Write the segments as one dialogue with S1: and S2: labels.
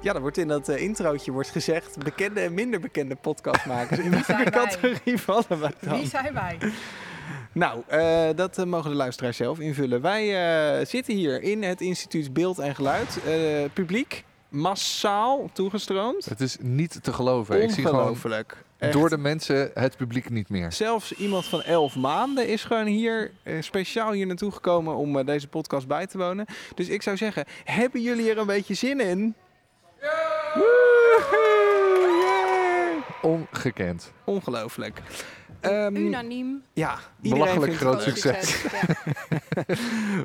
S1: Ja, dat wordt in dat eh, introotje wordt gezegd bekende en minder bekende podcastmakers. In welke
S2: zijn wij?
S1: categorie vallen wij dan?
S2: Wie zijn wij?
S1: Nou, eh, dat eh, mogen de luisteraars zelf invullen. Wij eh, zitten hier in het instituut Beeld en Geluid. Eh, publiek, massaal toegestroomd.
S3: Het is niet te geloven. Ik zie gewoon
S1: Ongelooflijk. Echt.
S3: door de mensen het publiek niet meer.
S1: Zelfs iemand van elf maanden is gewoon hier eh, speciaal hier naartoe gekomen om eh, deze podcast bij te wonen. Dus ik zou zeggen, hebben jullie er een beetje zin in? Woehoe, yeah.
S3: Ongekend.
S1: Ongelooflijk. Ehm,
S2: Unaniem.
S1: ja, iedereen
S3: Belachelijk
S1: vindt het
S3: groot
S1: leuk.
S3: succes.
S2: Ja.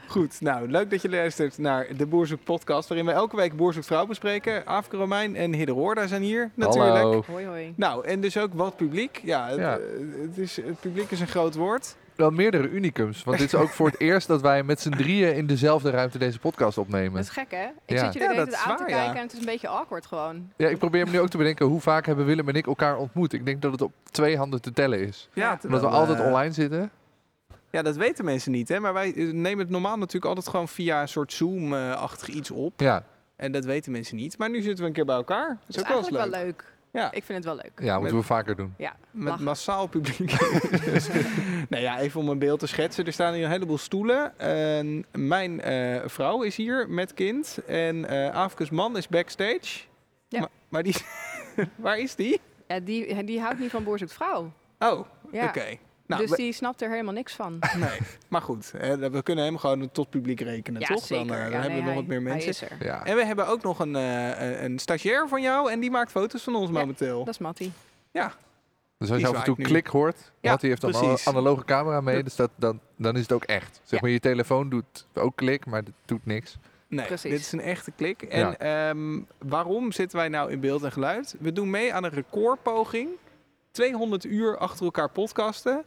S1: Goed, nou leuk dat je luistert naar de Boerzoek podcast, waarin wij elke week Boerzoek Vrouw bespreken. Afke Romein en Hidde Roorda zijn hier natuurlijk.
S3: Hallo.
S2: Hoi hoi.
S1: Nou, en dus ook wat publiek. Ja, het,
S3: Ja.
S1: eh, het is, het publiek is een groot woord.
S3: Wel meerdere unicums. Want dit is ook voor het eerst dat wij met z'n drieën in dezelfde ruimte deze podcast
S2: Dat is
S3: opnemen.
S2: gek hè? Ik
S3: Ja.
S2: zit
S1: Ja,
S2: jullie de hele
S1: dat
S2: tijd
S1: is
S2: aan te
S1: waar, ja.
S2: kijken en het is een beetje awkward gewoon.
S3: Ja, ik probeer me nu ook te bedenken hoe vaak hebben Willem en ik elkaar ontmoet. Ik denk dat het op twee handen te tellen is.
S2: Ja,
S3: Omdat we
S1: terwijl,
S3: altijd
S1: eh,
S3: online zitten.
S1: Ja, dat weten mensen niet, hè? Maar wij eh, nemen het normaal natuurlijk altijd gewoon via een soort Zoom-achtig iets op.
S3: Ja,
S1: En dat weten mensen niet. Maar nu zitten we een keer bij elkaar. Dat is
S2: Het is
S1: ook wel eens
S2: Dus
S1: leuk.
S2: eigenlijk wel leuk.
S1: Ja.
S2: Ik vind het wel leuk.
S3: ja moeten
S1: Met-
S3: we vaker doen.
S2: Ja,
S1: Met
S2: lachen.
S1: massaal publiek. nou ja, even om een beeld te schetsen. Er staan hier een heleboel stoelen. En mijn eh, vrouw is hier met kind. En eh Afke's man is backstage.
S2: Ja.
S1: Maar, maar die... waar is die?
S2: Ja, die, die houdt niet van Boer zoekt vrouw.
S1: Oh,
S2: Ja.
S1: oké. Nou,
S2: dus
S1: we-
S2: die snapt er helemaal niks van.
S1: nee. Maar goed, hè, we kunnen hem gewoon tot publiek rekenen,
S2: ja,
S1: toch?
S2: zeker.
S1: Dan, eh,
S2: Ja,
S1: dan
S2: nee,
S1: hebben we nog
S2: hij-
S1: wat meer
S2: hij
S1: mensen.
S2: is er.
S3: Ja.
S1: En we hebben ook nog een, eh, een stagiair van jou en die maakt foto's van ons momenteel.
S2: Dat is Mattie.
S1: Die
S3: Dus als je af en
S1: zwaait
S3: toe
S1: nu.
S3: klik hoort,
S1: Ja,
S3: want die heeft dan een
S1: precies.
S3: analoge camera
S1: Ja.
S3: mee, dus dat, dan, dan is het ook echt. Zeg
S2: Ja.
S3: maar, je telefoon doet ook klik, maar het doet niks.
S1: Nee,
S2: Precies.
S1: dit is een echte klik. En ehm, waarom zitten wij nou in beeld en geluid? We doen mee aan een recordpoging. 200 uur achter elkaar podcasten.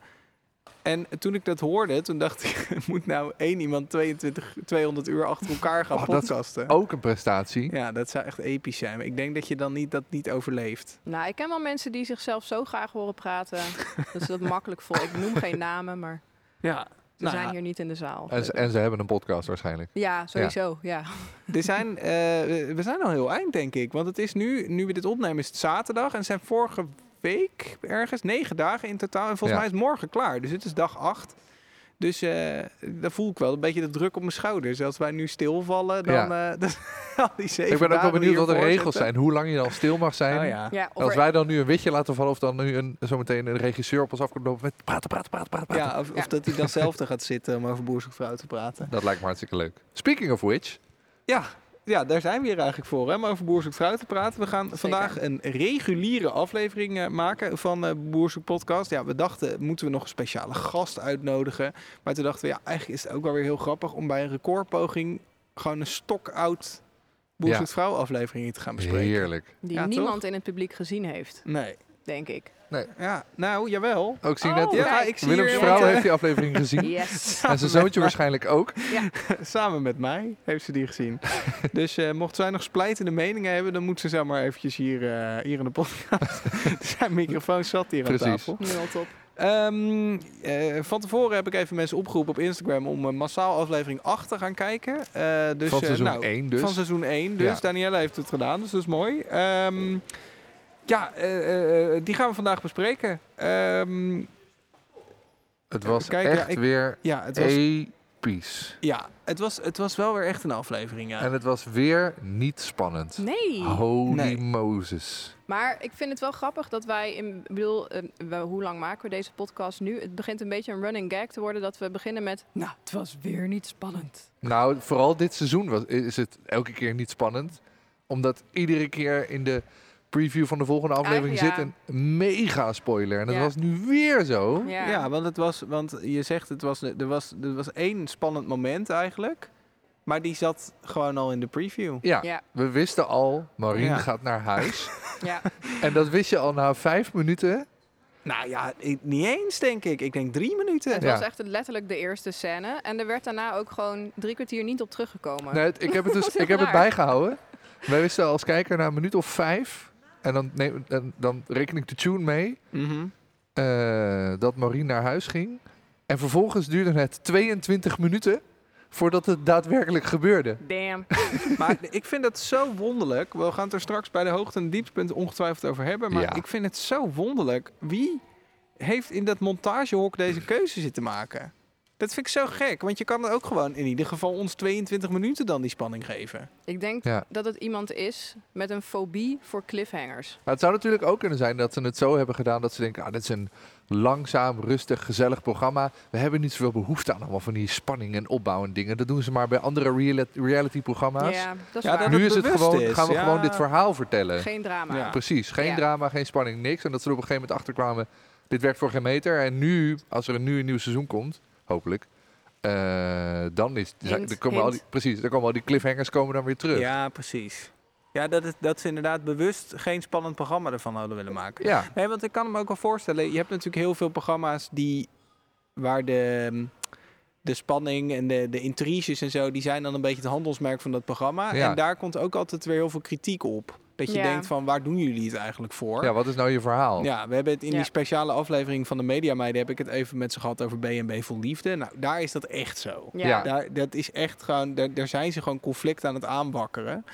S1: En toen ik dat hoorde, toen dacht ik... moet nou één iemand 22, 200 uur achter elkaar gaan
S3: Oh, dat is
S1: podcasten?
S3: Ook een prestatie.
S1: Ja, dat zou echt episch zijn. Maar ik denk dat je dan niet, dat niet overleeft.
S2: Nou, ik ken wel mensen die zichzelf zo graag horen praten. dat ze dat makkelijk vol. Ik noem geen namen, maar
S1: Ja.
S2: ze
S1: Nou
S2: zijn
S1: ja.
S2: hier niet in de zaal.
S3: En, ze- en ze hebben een podcast waarschijnlijk.
S2: Ja, sowieso. Ja.
S1: Er zijn, eh, we zijn al heel eind, denk ik. Want het is nu, nu we dit opnemen, is het zaterdag. En het zijn vorige week ergens negen dagen in totaal. En volgens
S3: Ja.
S1: mij is het morgen klaar. Dus het is dag acht. Dus eh daar voel ik wel een beetje de druk op mijn schouders. Als wij nu stilvallen, dan...
S3: Ja.
S1: eh, dan al die zeven
S3: Ik ben ook wel
S1: dagen die
S3: benieuwd wat de
S1: hiervoor
S3: regels
S1: zitten.
S3: zijn. Hoe lang je dan stil mag zijn.
S1: Oh, ja.
S2: Ja, of
S3: Als
S2: er-
S3: wij dan nu een witje laten vallen of dan nu een, zometeen een regisseur op ons af komt lopen met praten, praten, praten, praten. praten.
S1: Ja, of, of
S2: Ja.
S1: dat hij dan zelf er gaat zitten om over boerzoekvrouw te praten.
S3: Dat lijkt me hartstikke leuk. Speaking of which,
S1: Ja, ja, daar zijn we hier eigenlijk voor, hè, om over Boer Zoekt Vrouw te praten. We gaan vandaag een reguliere aflevering eh, maken van eh Boer Zoekt Podcast. Ja, we dachten, moeten we nog een speciale gast uitnodigen? Maar toen dachten we, ja, eigenlijk is het ook wel weer heel grappig om bij een recordpoging gewoon een stokoud Boer
S3: Ja.
S1: Zoekt Vrouw aflevering te gaan bespreken.
S3: heerlijk.
S2: die
S1: Ja, toch?
S2: niemand in het publiek gezien heeft,
S1: Nee.
S2: denk ik.
S1: Ja, nou, jawel.
S3: Ook zien
S2: Oh,
S3: net,
S2: ja,
S3: ja,
S2: ik
S1: zie
S3: Willems
S1: hier
S3: vrouw
S1: iemand, eh,
S3: heeft die aflevering gezien.
S2: Yes.
S3: En zijn zoontje waarschijnlijk ook.
S1: Dus, Samen met mij heeft ze die gezien. dus eh, mocht zij nog splijtende meningen hebben, dan moet ze zo maar eventjes hier, eh, hier in de podcast. Zijn microfoon zat hier aan
S3: Precies.
S1: tafel.
S2: Nul top.
S1: Ehm, eh, van tevoren heb ik even mensen opgeroepen op Instagram om eh, massaal aflevering 8 te gaan kijken. Eh, dus,
S3: van
S1: eh,
S3: seizoen
S1: nou,
S3: 1 dus.
S1: Van seizoen 1. Dus
S3: Ja.
S1: Danielle heeft het gedaan, dus dat is mooi. Ehm, ja, eh, eh, eh, die gaan we vandaag bespreken. Ehm,
S3: het was
S1: Kijk, ja,
S3: echt
S1: ik-
S3: weer
S1: ja, het was,
S3: episch.
S1: ja het, was, het was wel weer echt een aflevering. Ja.
S3: En het was weer niet spannend.
S2: Nee.
S3: Holy
S1: Nee.
S3: Moses.
S2: Maar ik vind het wel grappig dat wij, in, ik bedoel, eh, we- hoe lang maken we deze podcast nu? Het begint een beetje een running gag te worden dat we beginnen met... Nou, het was weer niet spannend.
S3: Nou, vooral dit seizoen was, is het elke keer niet spannend. Omdat iedere keer in de preview van de volgende aflevering
S2: Eigen-
S3: zit een mega spoiler. En dat
S2: Ah, Ja.
S3: was nu weer zo.
S2: Ja.
S1: Ja. want, het was, want je zegt, het was, er, was, er was één spannend moment eigenlijk. Maar die zat gewoon al in de preview.
S3: Ja,
S2: Ja.
S3: we wisten al, Marien
S1: Ja.
S3: gaat naar huis.
S2: Ja.
S3: en dat wist je al na vijf minuten.
S1: Nou ja, ik- niet eens denk ik. Ik denk drie minuten.
S2: Het
S3: Ja.
S2: was echt letterlijk de eerste scène. En er werd daarna ook gewoon drie kwartier niet op teruggekomen.
S3: Nee, het- ik heb het, dus,
S2: Dat is heel
S3: ik heb het
S2: raar.
S3: bijgehouden. Wij wisten als kijker na een minuut of vijf. En dan, neem, en dan reken ik de tune mee
S1: Mhm.
S3: eh, dat Marien naar huis ging. En vervolgens duurde het 22 minuten voordat het daadwerkelijk gebeurde.
S2: Damn.
S1: Maar ik vind dat zo wonderlijk. We gaan het er straks bij de hoogte en dieptepunten ongetwijfeld over hebben. Maar
S3: Ja.
S1: ik vind het zo wonderlijk. Wie heeft in dat montagehok deze keuze zitten maken? Dat vind ik zo gek. Want je kan er ook gewoon in ieder geval ons 22 minuten dan die spanning geven.
S2: Ik denk
S3: Ja.
S2: dat het iemand is met een fobie voor cliffhangers.
S3: Maar het zou natuurlijk ook kunnen zijn dat ze het zo hebben gedaan dat ze denken: ah, dit is een langzaam, rustig, gezellig programma. We hebben niet zoveel behoefte aan allemaal van die spanning en opbouw en dingen. Dat doen ze maar bij andere reali- reality-programma's.
S2: Ja, dat is
S1: Ja,
S2: waar.
S1: dat
S3: Nu
S1: het
S3: is het
S1: bewust
S3: gewoon:
S1: is,
S3: gaan we
S1: ja.
S3: gewoon dit verhaal vertellen.
S2: Geen drama.
S1: Ja.
S3: Precies, geen
S2: Ja.
S3: drama, geen spanning, niks. En dat ze er op een gegeven moment achter kwamen: dit werkt voor geen meter. En nu, als er een, nu een nieuw seizoen komt, hopelijk. eh, dan is,
S2: Hint,
S3: dan komen al die,
S2: hint.
S3: precies, dan komen al die cliffhangers komen dan weer terug.
S1: Ja, precies. Ja, dat, het- dat ze inderdaad bewust geen spannend programma ervan hadden willen maken.
S3: ja.
S1: Nee, want ik kan me ook wel voorstellen. Je hebt natuurlijk heel veel programma's die waar de, mm, de spanning en de, de intriges en zo, die zijn dan een beetje het handelsmerk van dat programma.
S3: Ja.
S1: En daar komt ook altijd weer heel veel kritiek op. Dat je
S2: Ja.
S1: denkt van waar doen jullie het eigenlijk voor?
S3: ja, wat is nou je verhaal?
S1: Ja, we hebben het in
S2: Ja.
S1: die speciale aflevering van de Media Meiden heb ik het even met ze gehad over B&B vol liefde. Nou, daar is dat echt zo.
S2: Ja.
S3: Ja.
S1: Daar, dat is echt gewoon, daar, daar zijn ze gewoon conflict aan het aanwakkeren.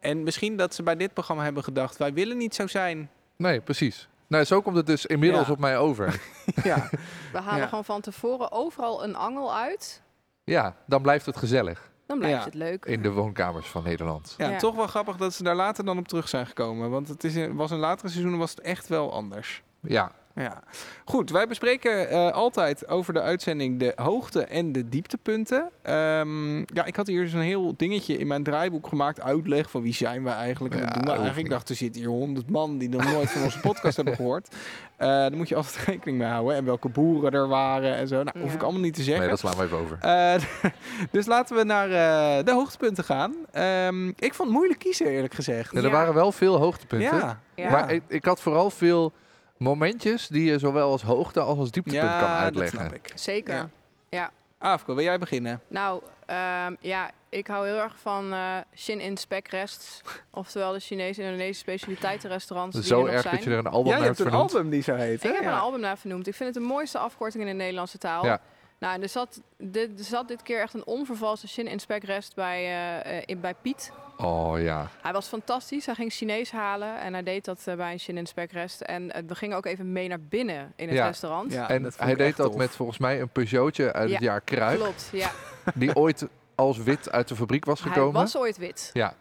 S1: En misschien dat ze bij dit programma hebben gedacht, wij willen niet zo zijn.
S3: Nee, precies. Nou, zo komt het dus inmiddels
S1: Ja.
S3: op mij over.
S1: Ja,
S2: We halen
S1: Ja.
S2: gewoon van tevoren overal een angel uit.
S3: ja, dan blijft het gezellig
S2: Dan blijft
S1: Ja.
S2: het leuk.
S3: in de woonkamers van Nederland.
S1: Ja,
S2: Ja.
S1: toch wel grappig dat ze daar later dan op terug zijn gekomen. Want het is in, was in latere seizoenen was het echt wel anders.
S3: Ja,
S1: Ja. Goed, wij bespreken eh, altijd over de uitzending de hoogte en de dieptepunten. Ehm, ja, ik had hier dus een heel dingetje in mijn draaiboek gemaakt. Uitleg van wie zijn we eigenlijk en
S3: Ja,
S1: wat doen we
S3: dat hoeft
S1: eigenlijk. Ik dacht, er zitten hier honderd man die nog nooit van onze podcast hebben gehoord. Eh daar moet je altijd rekening mee houden. En welke boeren er waren en zo. Nou, hoef
S2: Ja.
S1: ik allemaal niet te zeggen.
S3: nee, dat slaan we even over.
S1: Eh, dus laten we naar eh, de hoogtepunten gaan. Ehm, ik vond het moeilijk kiezen, eerlijk gezegd.
S3: Ja, er
S2: Ja.
S3: waren wel veel hoogtepunten.
S1: Ja,
S2: Ja.
S3: Maar ik, ik had vooral veel momentjes die je zowel als hoogte als als dieptepunt
S1: ja
S3: kan
S1: dat
S3: uitleggen.
S1: snap ik.
S2: Zeker.
S1: Ja. Afko, wil jij beginnen?
S2: Nou, ehm, ja, ik hou heel erg van eh Shin in Spec Rests. Oftewel de Chinese en Indonesische specialiteitenrestaurants die er
S3: Zo
S2: nog
S3: erg
S2: zijn.
S3: dat je er een album
S1: jij
S3: naar hebt
S1: hebt een
S3: vernoemd.
S1: album die zo heet, hè?
S2: Ik heb
S1: Ja.
S2: een album naar vernoemd. Ik vind het de mooiste afkorting in de Nederlandse taal.
S3: Ja.
S2: Nou, en er zat, dit, er zat dit keer echt een onvervalste Shin in Spec Rest bij, eh, eh, in, bij Piet.
S3: Oh ja.
S2: Hij was fantastisch. Hij ging Chinees halen en hij deed dat eh, bij een Shin in Spec Rest. En eh, we gingen ook even mee naar binnen in het
S3: Ja.
S2: restaurant.
S1: Ja,
S3: en
S1: dat vond
S3: hij
S1: ik
S3: deed
S1: echt
S3: dat
S1: tof.
S3: met volgens mij een Peugeotje uit het
S2: Ja,
S3: jaar Kruik.
S2: Klopt, ja.
S3: Die ooit als wit uit de fabriek was
S2: Hij
S3: gekomen.
S2: was ooit wit.
S3: Ja,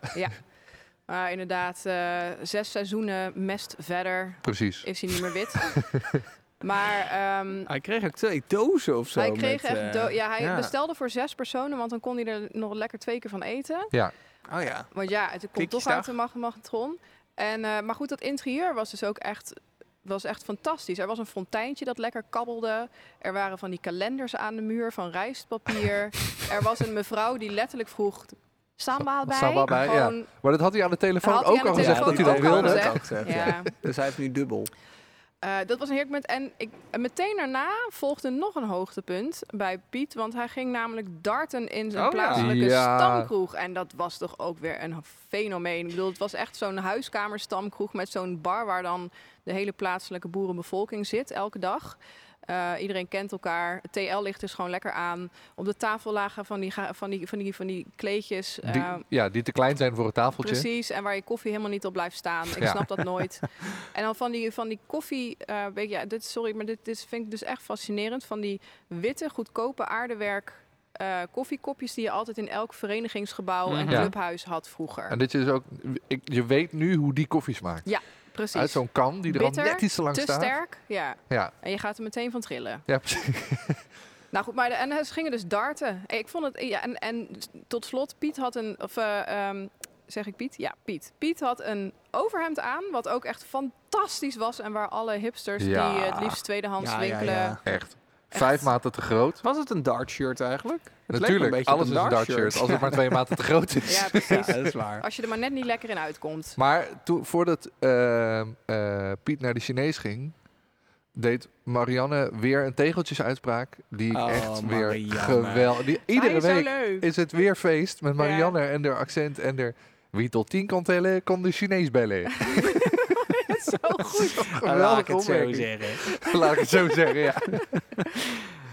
S2: Maar inderdaad, eh, zes seizoenen mest verder
S3: precies.
S2: is hij niet meer wit. maar ehm,
S1: Hij kreeg ook twee dozen of zo.
S2: hij kreeg
S1: met,
S2: echt...
S1: eh,
S2: do- ja, hij
S1: ja.
S2: bestelde voor zes personen, want dan kon hij er nog lekker twee keer van eten.
S1: Oh ja.
S2: Want ja, het komt
S1: Klikjes
S2: toch uit
S1: dag.
S2: de mag- magnetron. En, eh, maar goed, dat interieur was dus ook echt, was echt fantastisch. Er was een fonteintje dat lekker kabbelde. Er waren van die kalenders aan de muur van rijstpapier. er was een mevrouw die letterlijk vroeg... Samba bij?
S3: Samba bij, ja.
S2: Gewoon-
S3: Maar dat had hij aan de telefoon
S2: Had hij
S3: ook
S2: aan de
S3: al gezegd dat
S2: telefoon
S3: hij dat
S2: ook al
S3: wilde.
S2: gezegd.
S1: gezegd,
S2: ja.
S1: ja. Dus hij heeft nu dubbel.
S2: Eh, dat was een heerlijk moment. En, ik, en meteen daarna volgde nog een hoogtepunt bij Piet. Want hij ging namelijk darten in zijn
S1: Oh ja.
S2: plaatselijke
S3: Ja.
S2: stamkroeg. En dat was toch ook weer een fenomeen. Ik bedoel, het was echt zo'n huiskamerstamkroeg met zo'n bar... waar dan de hele plaatselijke boerenbevolking zit elke dag. Eh, iedereen kent elkaar. Het TL-licht is dus gewoon lekker aan. Op de tafel lagen van die, ga- van die, van die, van die kleedjes.
S3: Die,
S2: eh,
S3: ja, die te klein zijn voor het tafeltje.
S2: Precies, en waar je koffie helemaal niet op blijft staan. Ik
S3: Ja.
S2: snap dat nooit. En dan van die, van die koffie, eh, weet je, ja, dit, sorry, maar dit, dit vind ik dus echt fascinerend. Van die witte, goedkope aardewerk eh, koffiekopjes die je altijd in elk verenigingsgebouw en
S1: Mhm.
S3: Mm, Ja.
S2: clubhuis had vroeger.
S3: En dit is ook, ik, je weet nu hoe die koffie smaakt. Uit
S2: Precies.
S3: zo'n kan die er
S2: Bitter,
S3: al net iets te lang
S2: Te
S3: staat.
S2: sterk, ja.
S3: Ja,
S2: En je gaat er meteen van trillen.
S3: ja, precies.
S2: Nou goed, maar de, en ze gingen dus darten. En Ik vond het, ja, en, en tot slot, Piet had een, of eh, ehm, zeg ik Piet? Ja, Piet. Piet had een overhemd aan, wat ook echt fantastisch was. En waar alle hipsters
S3: Ja.
S2: die eh, het liefst tweedehands
S1: Ja, ja,
S2: winkelen
S1: ja.
S3: echt. Vijf maten te groot.
S1: Was het een dartshirt eigenlijk? Het leek me
S3: Natuurlijk,
S1: beetje op
S3: alles is een dartshirt. Als het maar twee maten te groot is.
S2: Ja, precies.
S1: Ja, dat is waar.
S2: Als je er maar net niet lekker in uitkomt.
S3: Maar toen, voordat ehm, eh, Piet naar de Chinees ging, deed Marianne weer een tegeltjesuitspraak. Die ik
S1: Oh,
S3: echt weer
S1: Marianne.
S3: geweldig... Iedere
S2: Hij is zo
S3: week
S2: leuk.
S3: is het weer feest met Marianne en haar accent en haar... Wie tot tien kan tellen, kan de Chinees bellen.
S2: Zo goed.
S1: Laat ik
S3: Geweldige
S1: het zo
S3: opmerking.
S1: zeggen.
S3: Laat ik het zo zeggen, ja.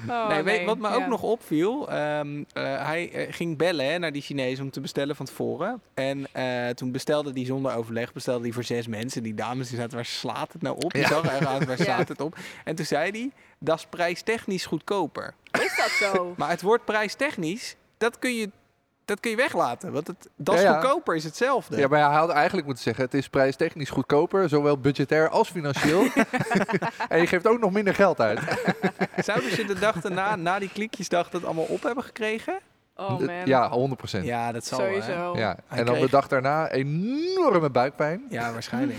S2: Oh,
S1: nee, weet- wat me ook
S2: ja.
S1: nog opviel, ehm, eh, hij eh, ging bellen hè, naar die Chinees om te bestellen van tevoren. En eh, toen bestelde hij zonder overleg, bestelde hij voor zes mensen. Die dames die zaten, waar slaat het nou op? Die
S3: Ja.
S1: zag er aan, waar
S2: Ja.
S1: slaat het op? En toen zei hij, dat is prijstechnisch goedkoper.
S2: Is dat zo?
S1: Maar het woord prijstechnisch, dat kun je, dat kun je weglaten. Want het, dat is
S3: Ja, ja.
S1: goedkoper is hetzelfde.
S3: Ja, maar hij had eigenlijk moeten zeggen, het is prijstechnisch goedkoper, zowel budgetair als financieel. en je geeft ook nog minder geld uit.
S1: Oh, Zouden ze de dag daarna, na die klikjesdag, dat allemaal op hebben gekregen?
S2: Oh man.
S3: ja, 100%. Ja.
S1: Ja, dat zal wel, hè?
S2: Sowieso.
S1: Hij
S3: En dan de
S1: kreeg-
S3: dag daarna enorme buikpijn.
S1: Ja, waarschijnlijk.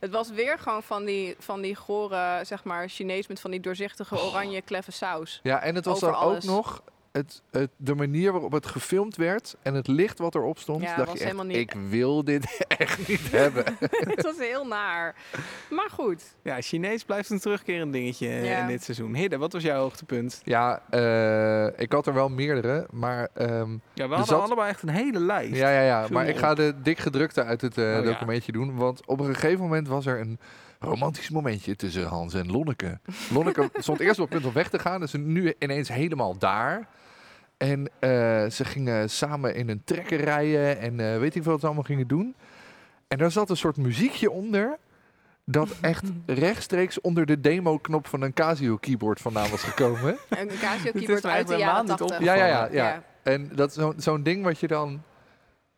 S2: Het was weer gewoon van die, van die gore, zeg maar, Chinees met van die doorzichtige oranje kleffe saus.
S3: Ja, en het was
S2: Over
S3: dan ook
S2: alles.
S3: nog het, het, de manier waarop het gefilmd werd en het licht wat erop stond.
S2: Ja,
S3: dacht
S2: was
S3: je echt,
S2: helemaal niet-
S3: ik wil dit echt niet hebben.
S2: Het was heel naar. Maar goed.
S1: Ja, Chinees blijft een terugkerend dingetje eh,
S2: Ja.
S1: in dit seizoen. Hidde, wat was jouw hoogtepunt?
S3: Ja, eh, ik had er wel meerdere, maar, ehm,
S1: Ja, we
S3: Er
S1: hadden
S3: zat-
S1: allebei echt een hele lijst.
S3: ja, ja, ja,
S1: Viel
S3: maar
S1: me Oh,
S3: ik ga de dik gedrukte uit het eh,
S1: ja.
S3: documentje doen. Want op een gegeven moment was er een romantisch momentje tussen Hans en Lonneke. Lonneke stond eerst op het punt om weg te gaan, dus nu ineens helemaal daar. En eh, ze gingen samen in een trekker rijden en eh, weet ik veel wat ze allemaal gingen doen. En daar zat een soort muziekje onder. Dat echt rechtstreeks onder de demo-knop van een Casio keyboard vandaan was gekomen.
S2: Een Casio
S1: is
S2: keyboard
S1: mij
S2: uit de
S1: helemaal
S2: jaren
S1: niet
S2: 80.
S1: opgevallen.
S3: Ja, ja, ja,
S2: Ja.
S3: ja. En dat is zo'n zo'n ding wat je dan.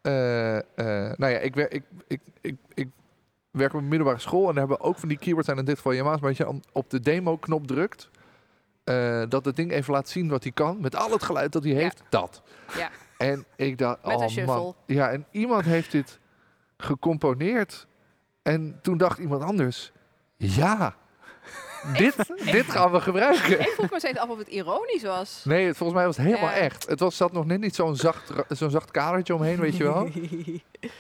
S3: eh, eh, nou ja, ik, wer- ik, ik, ik, ik werk op een middelbare school en daar hebben we ook van die keyboards aan in dit geval Yamaha's. Maar als je an- op de demo-knop drukt, eh, dat het ding even laat zien wat hij kan met al het geluid dat hij heeft, dat.
S2: Ja.
S3: En ik dacht,
S2: Met een
S3: oh
S2: shuffle.
S3: man. Ja, en iemand heeft dit gecomponeerd. En toen dacht iemand anders, ja, dit, dit gaan we gebruiken.
S2: Ik vroeg me steeds af of het ironisch was.
S3: Nee, het- volgens mij was het helemaal
S2: Ja.
S3: echt. Het was, zat nog net niet zo'n zacht, ra- zo'n zacht kadertje omheen, weet je wel.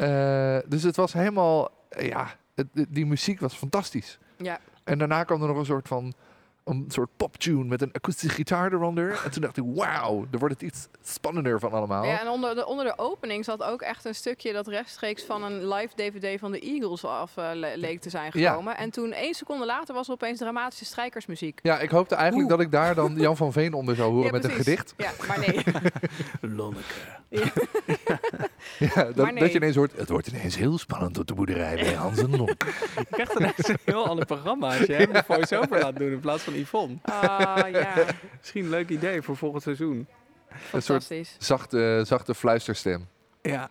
S3: Eh, dus het was helemaal, eh, ja, het- het- die muziek was fantastisch.
S2: Ja.
S3: En daarna kwam er nog een soort van, een soort poptune met een akoestische gitaar eronder. En toen dacht ik, wauw, er wordt het iets spannender van
S1: Nou.
S3: allemaal.
S2: Ja, en onder de, onder de opening zat ook echt een stukje dat rechtstreeks van een live DVD van de Eagles af eh, le- leek te zijn
S3: Ja.
S2: gekomen. En toen één seconde later was er opeens dramatische strijkersmuziek.
S3: Ja, ik hoopte eigenlijk dat ik daar dan Jan van Veen onder zou horen
S2: Ja,
S3: met
S2: precies.
S3: een gedicht.
S2: Ja, maar nee.
S1: Lonneke.
S3: Ja, dat,
S2: Maar nee.
S3: dat je ineens hoort, het wordt ineens heel spannend op de boerderij bij Hans en Lonk.
S1: Je krijgt ineens een heel ander programma als je hem een voice-over laat doen in plaats van Yvonne.
S2: Ah, ja,
S1: Misschien een leuk idee voor volgend seizoen.
S3: een soort
S2: fantastisch.
S3: zachte, zachte fluisterstem.
S1: Ja.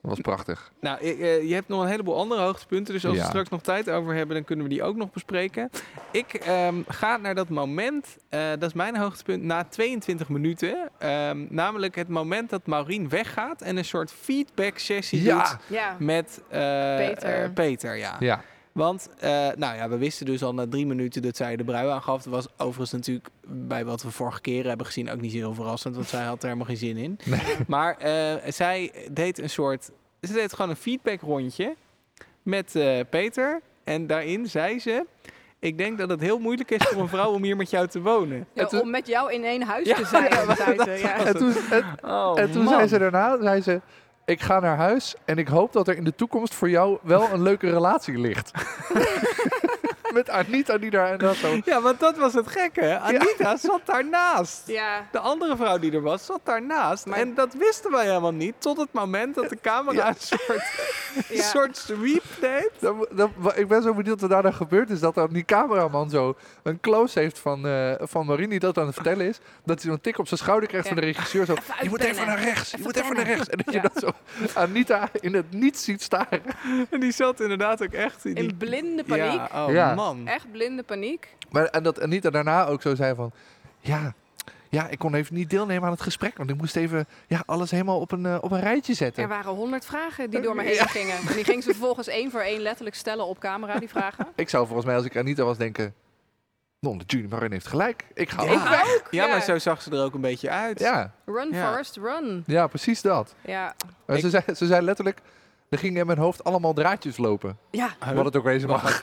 S3: Dat was prachtig.
S1: Nou, eh, eh, je hebt nog een heleboel andere hoogtepunten. Dus als
S3: Ja.
S1: we straks nog tijd over hebben, dan kunnen we die ook nog bespreken. Ik ehm, ga naar dat moment, eh, dat is mijn hoogtepunt, na 22 minuten. Ehm, namelijk het moment dat Maureen weggaat en een soort feedback sessie doet
S3: Ja,
S2: Ja,
S1: met eh,
S2: Peter.
S1: eh, Peter ja.
S3: ja.
S1: Want, eh, nou ja, we wisten dus al na drie minuten dat zij de brui aangaf. Dat was overigens natuurlijk bij wat we vorige keren hebben gezien ook niet zo heel verrassend. Want zij had er helemaal geen zin in. Maar eh, zij deed een soort... Ze deed gewoon een feedbackrondje met eh, Peter. En daarin zei ze... Ik denk dat het heel moeilijk is voor een vrouw om hier met jou te wonen.
S2: Ja,
S3: en toen-
S2: om met jou in één huis
S1: Ja,
S2: te zijn.
S1: ja,
S2: in
S1: maar
S2: feite,
S1: dat
S2: ja.
S1: was-
S3: En toen, en,
S1: Oh,
S3: en toen zei ze daarna, zei ze, ik ga naar huis en ik hoop dat er in de toekomst voor jou wel een leuke relatie ligt. Met Anita die daar en dat zo.
S1: Ja, want dat was het gekke. Anita zat daarnaast.
S2: Ja.
S1: De andere vrouw die er was, zat daarnaast.
S2: Maar- Eh,
S1: En dat wisten wij helemaal niet. Tot het moment dat de camera een soort, een
S2: Ja.
S1: soort sweep deed.
S3: Dan mo- dan- wa- ik ben zo benieuwd wat daarna gebeurd is. Dat dan die cameraman zo een close heeft van, eh van Marini die dat aan het vertellen is. Dat hij zo'n tik op zijn schouder krijgt van de regisseur. Zo, je moet even naar rechts, je moet even naar rechts. En dat je
S2: Ja.
S3: dat zo Anita in het niets ziet staren.
S1: En die zat inderdaad ook echt in die...
S2: In blinde paniek.
S1: Ja, oh
S3: Ja.
S1: man.
S2: Echt blinde paniek.
S3: Maar, en dat Anita daarna ook zo zei van... Ja, ja, ik kon even niet deelnemen aan het gesprek. Want ik moest even ja, alles helemaal op een, eh, op een rijtje
S2: Er
S3: zetten.
S2: waren honderd vragen die door me heen gingen. En die ging ze vervolgens één voor één letterlijk stellen op camera, die vragen.
S3: Ik zou volgens mij als ik Anita was denken... Non de Julie Marin heeft gelijk. Ik ga
S1: Ja.
S3: ook weg.
S2: Ook,
S1: Ja, maar zo zag ze er ook een beetje uit.
S3: Ja,
S2: Run,
S1: Ja.
S2: Forrest, run.
S3: ja, precies dat.
S2: Ja.
S3: Maar Ze, zei, ze zei letterlijk, er gingen in mijn hoofd allemaal draadjes lopen.
S2: ja,
S1: Huh?
S3: Wat het ook wezen mag.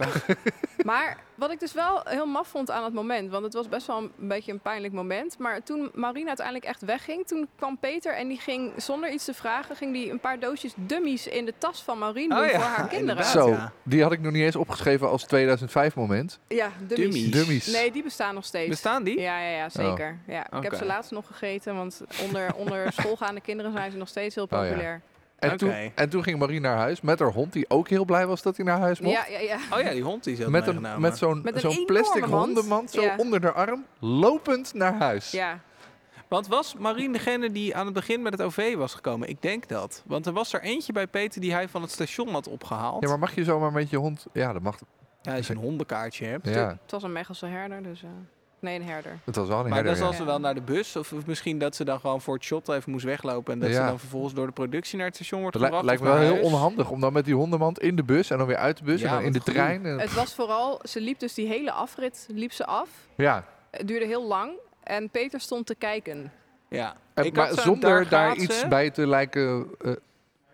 S2: Maar wat ik dus wel heel maf vond aan het moment, want het was best wel een beetje een pijnlijk moment. Maar toen Marina uiteindelijk echt wegging, toen kwam Peter en die ging zonder iets te vragen, ging die een paar doosjes dummies in de tas van Marien doen
S1: Oh ja,
S2: voor haar kinderen.
S1: inderdaad.
S3: Zo,
S1: ja.
S3: die had ik nog niet eens opgeschreven als 2005 moment.
S2: Ja, dummies.
S1: Dummies.
S3: Dummies.
S2: Nee, die bestaan nog steeds.
S1: Bestaan die?
S2: Ja, ja, ja, zeker.
S3: Oh.
S2: Ja, ik heb
S1: Oké.
S2: ze laatst nog gegeten, want onder, onder schoolgaande kinderen zijn ze nog steeds heel
S3: Oh, ja.
S2: populair.
S3: En,
S1: Oké.
S3: toen, en toen ging Marie naar huis met haar hond, die ook heel blij was dat hij naar huis mocht.
S2: ja, ja, ja.
S1: Oh ja, die hond die ze had
S3: Met, een,
S1: meegenomen.
S3: met zo'n
S2: Met een
S3: zo'n
S2: enorme
S3: plastic
S2: mand.
S3: hondenmand zo
S2: Ja.
S3: onder haar arm, lopend naar huis.
S2: ja.
S1: Want was Marien degene die aan het begin met het OV was gekomen? Ik denk dat. Want er was er eentje bij Peter die hij van het station had opgehaald.
S3: Ja, maar mag je zomaar met je hond... Ja, dat mag.
S1: Ja, als je een hondenkaartje hebt.
S3: Ja,
S2: Het was een Mechelse herder, dus... eh, nee, een herder.
S3: het was wel een
S1: Maar
S3: herder,
S1: dan zal
S3: ja.
S1: ze wel naar de bus. Of, of misschien dat ze dan gewoon voor het shot even moest weglopen. En dat ze
S3: Ja.
S1: dan vervolgens door de productie naar het station wordt
S3: Dat li-
S1: gebracht.
S3: lijkt
S1: of
S3: me wel
S1: naar
S3: heel
S1: huis.
S3: onhandig om dan met die hondenmand in de bus en dan weer uit de bus
S1: Ja,
S3: en dan in de
S1: wat groen.
S3: trein. En,
S2: Het was vooral, ze liep dus die hele afrit liep ze af.
S3: ja,
S2: Het duurde heel lang en Peter stond te kijken,
S1: Ja.
S3: En-
S1: Ik had
S3: maar
S1: zo'n
S3: zonder daar
S1: gaat ze.
S3: iets bij te lijken, eh,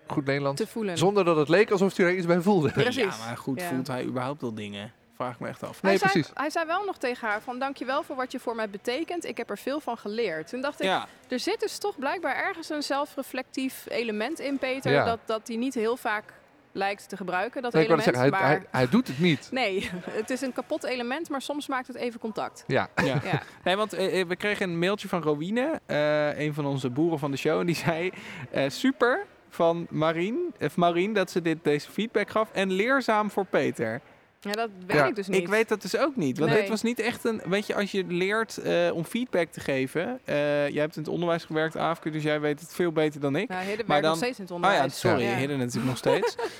S3: goed Nederlands,
S2: te voelen.
S3: zonder dat het leek alsof hij er iets bij voelde.
S2: Precies.
S1: Ja, maar goed,
S2: Ja.
S1: voelt hij überhaupt wel dingen? Vraag ik me echt af.
S3: Nee,
S2: hij, zei,
S3: precies.
S2: hij zei wel nog tegen haar van dankjewel voor wat je voor mij betekent. Ik heb er veel van geleerd. Toen dacht ik,
S1: Ja,
S2: er zit dus toch blijkbaar ergens een zelfreflectief element in Peter.
S3: Ja.
S2: Dat, dat die niet heel vaak lijkt te gebruiken, dat
S3: Nee, ik wou
S2: element.
S3: net zeggen, hij,
S2: maar
S3: hij, hij doet het niet.
S2: nee, het is een kapot element, maar soms maakt het even contact.
S3: Ja,
S1: ja.
S2: Ja.
S1: Nee, want eh, eh, we kregen een mailtje van Rowine, eh, een van onze boeren van de show. En die zei, eh, super van Marien, of Marien dat ze dit, deze feedback gaf. En leerzaam voor Peter.
S2: ja, dat weet
S3: Ja,
S2: ik dus niet.
S1: Ik weet dat dus ook niet. Want
S2: Nee.
S1: het was niet echt een... Weet je, als je leert eh, om feedback te geven... eh, jij hebt in het onderwijs gewerkt, Aafke, dus jij weet het veel beter dan ik.
S2: Nou, Hidden
S1: Maar
S2: werkt nog
S1: dan-
S2: steeds in het
S1: Oh
S2: onderwijs.
S1: ja, sorry,
S2: Ja.
S1: hidden natuurlijk nog steeds.
S3: maakt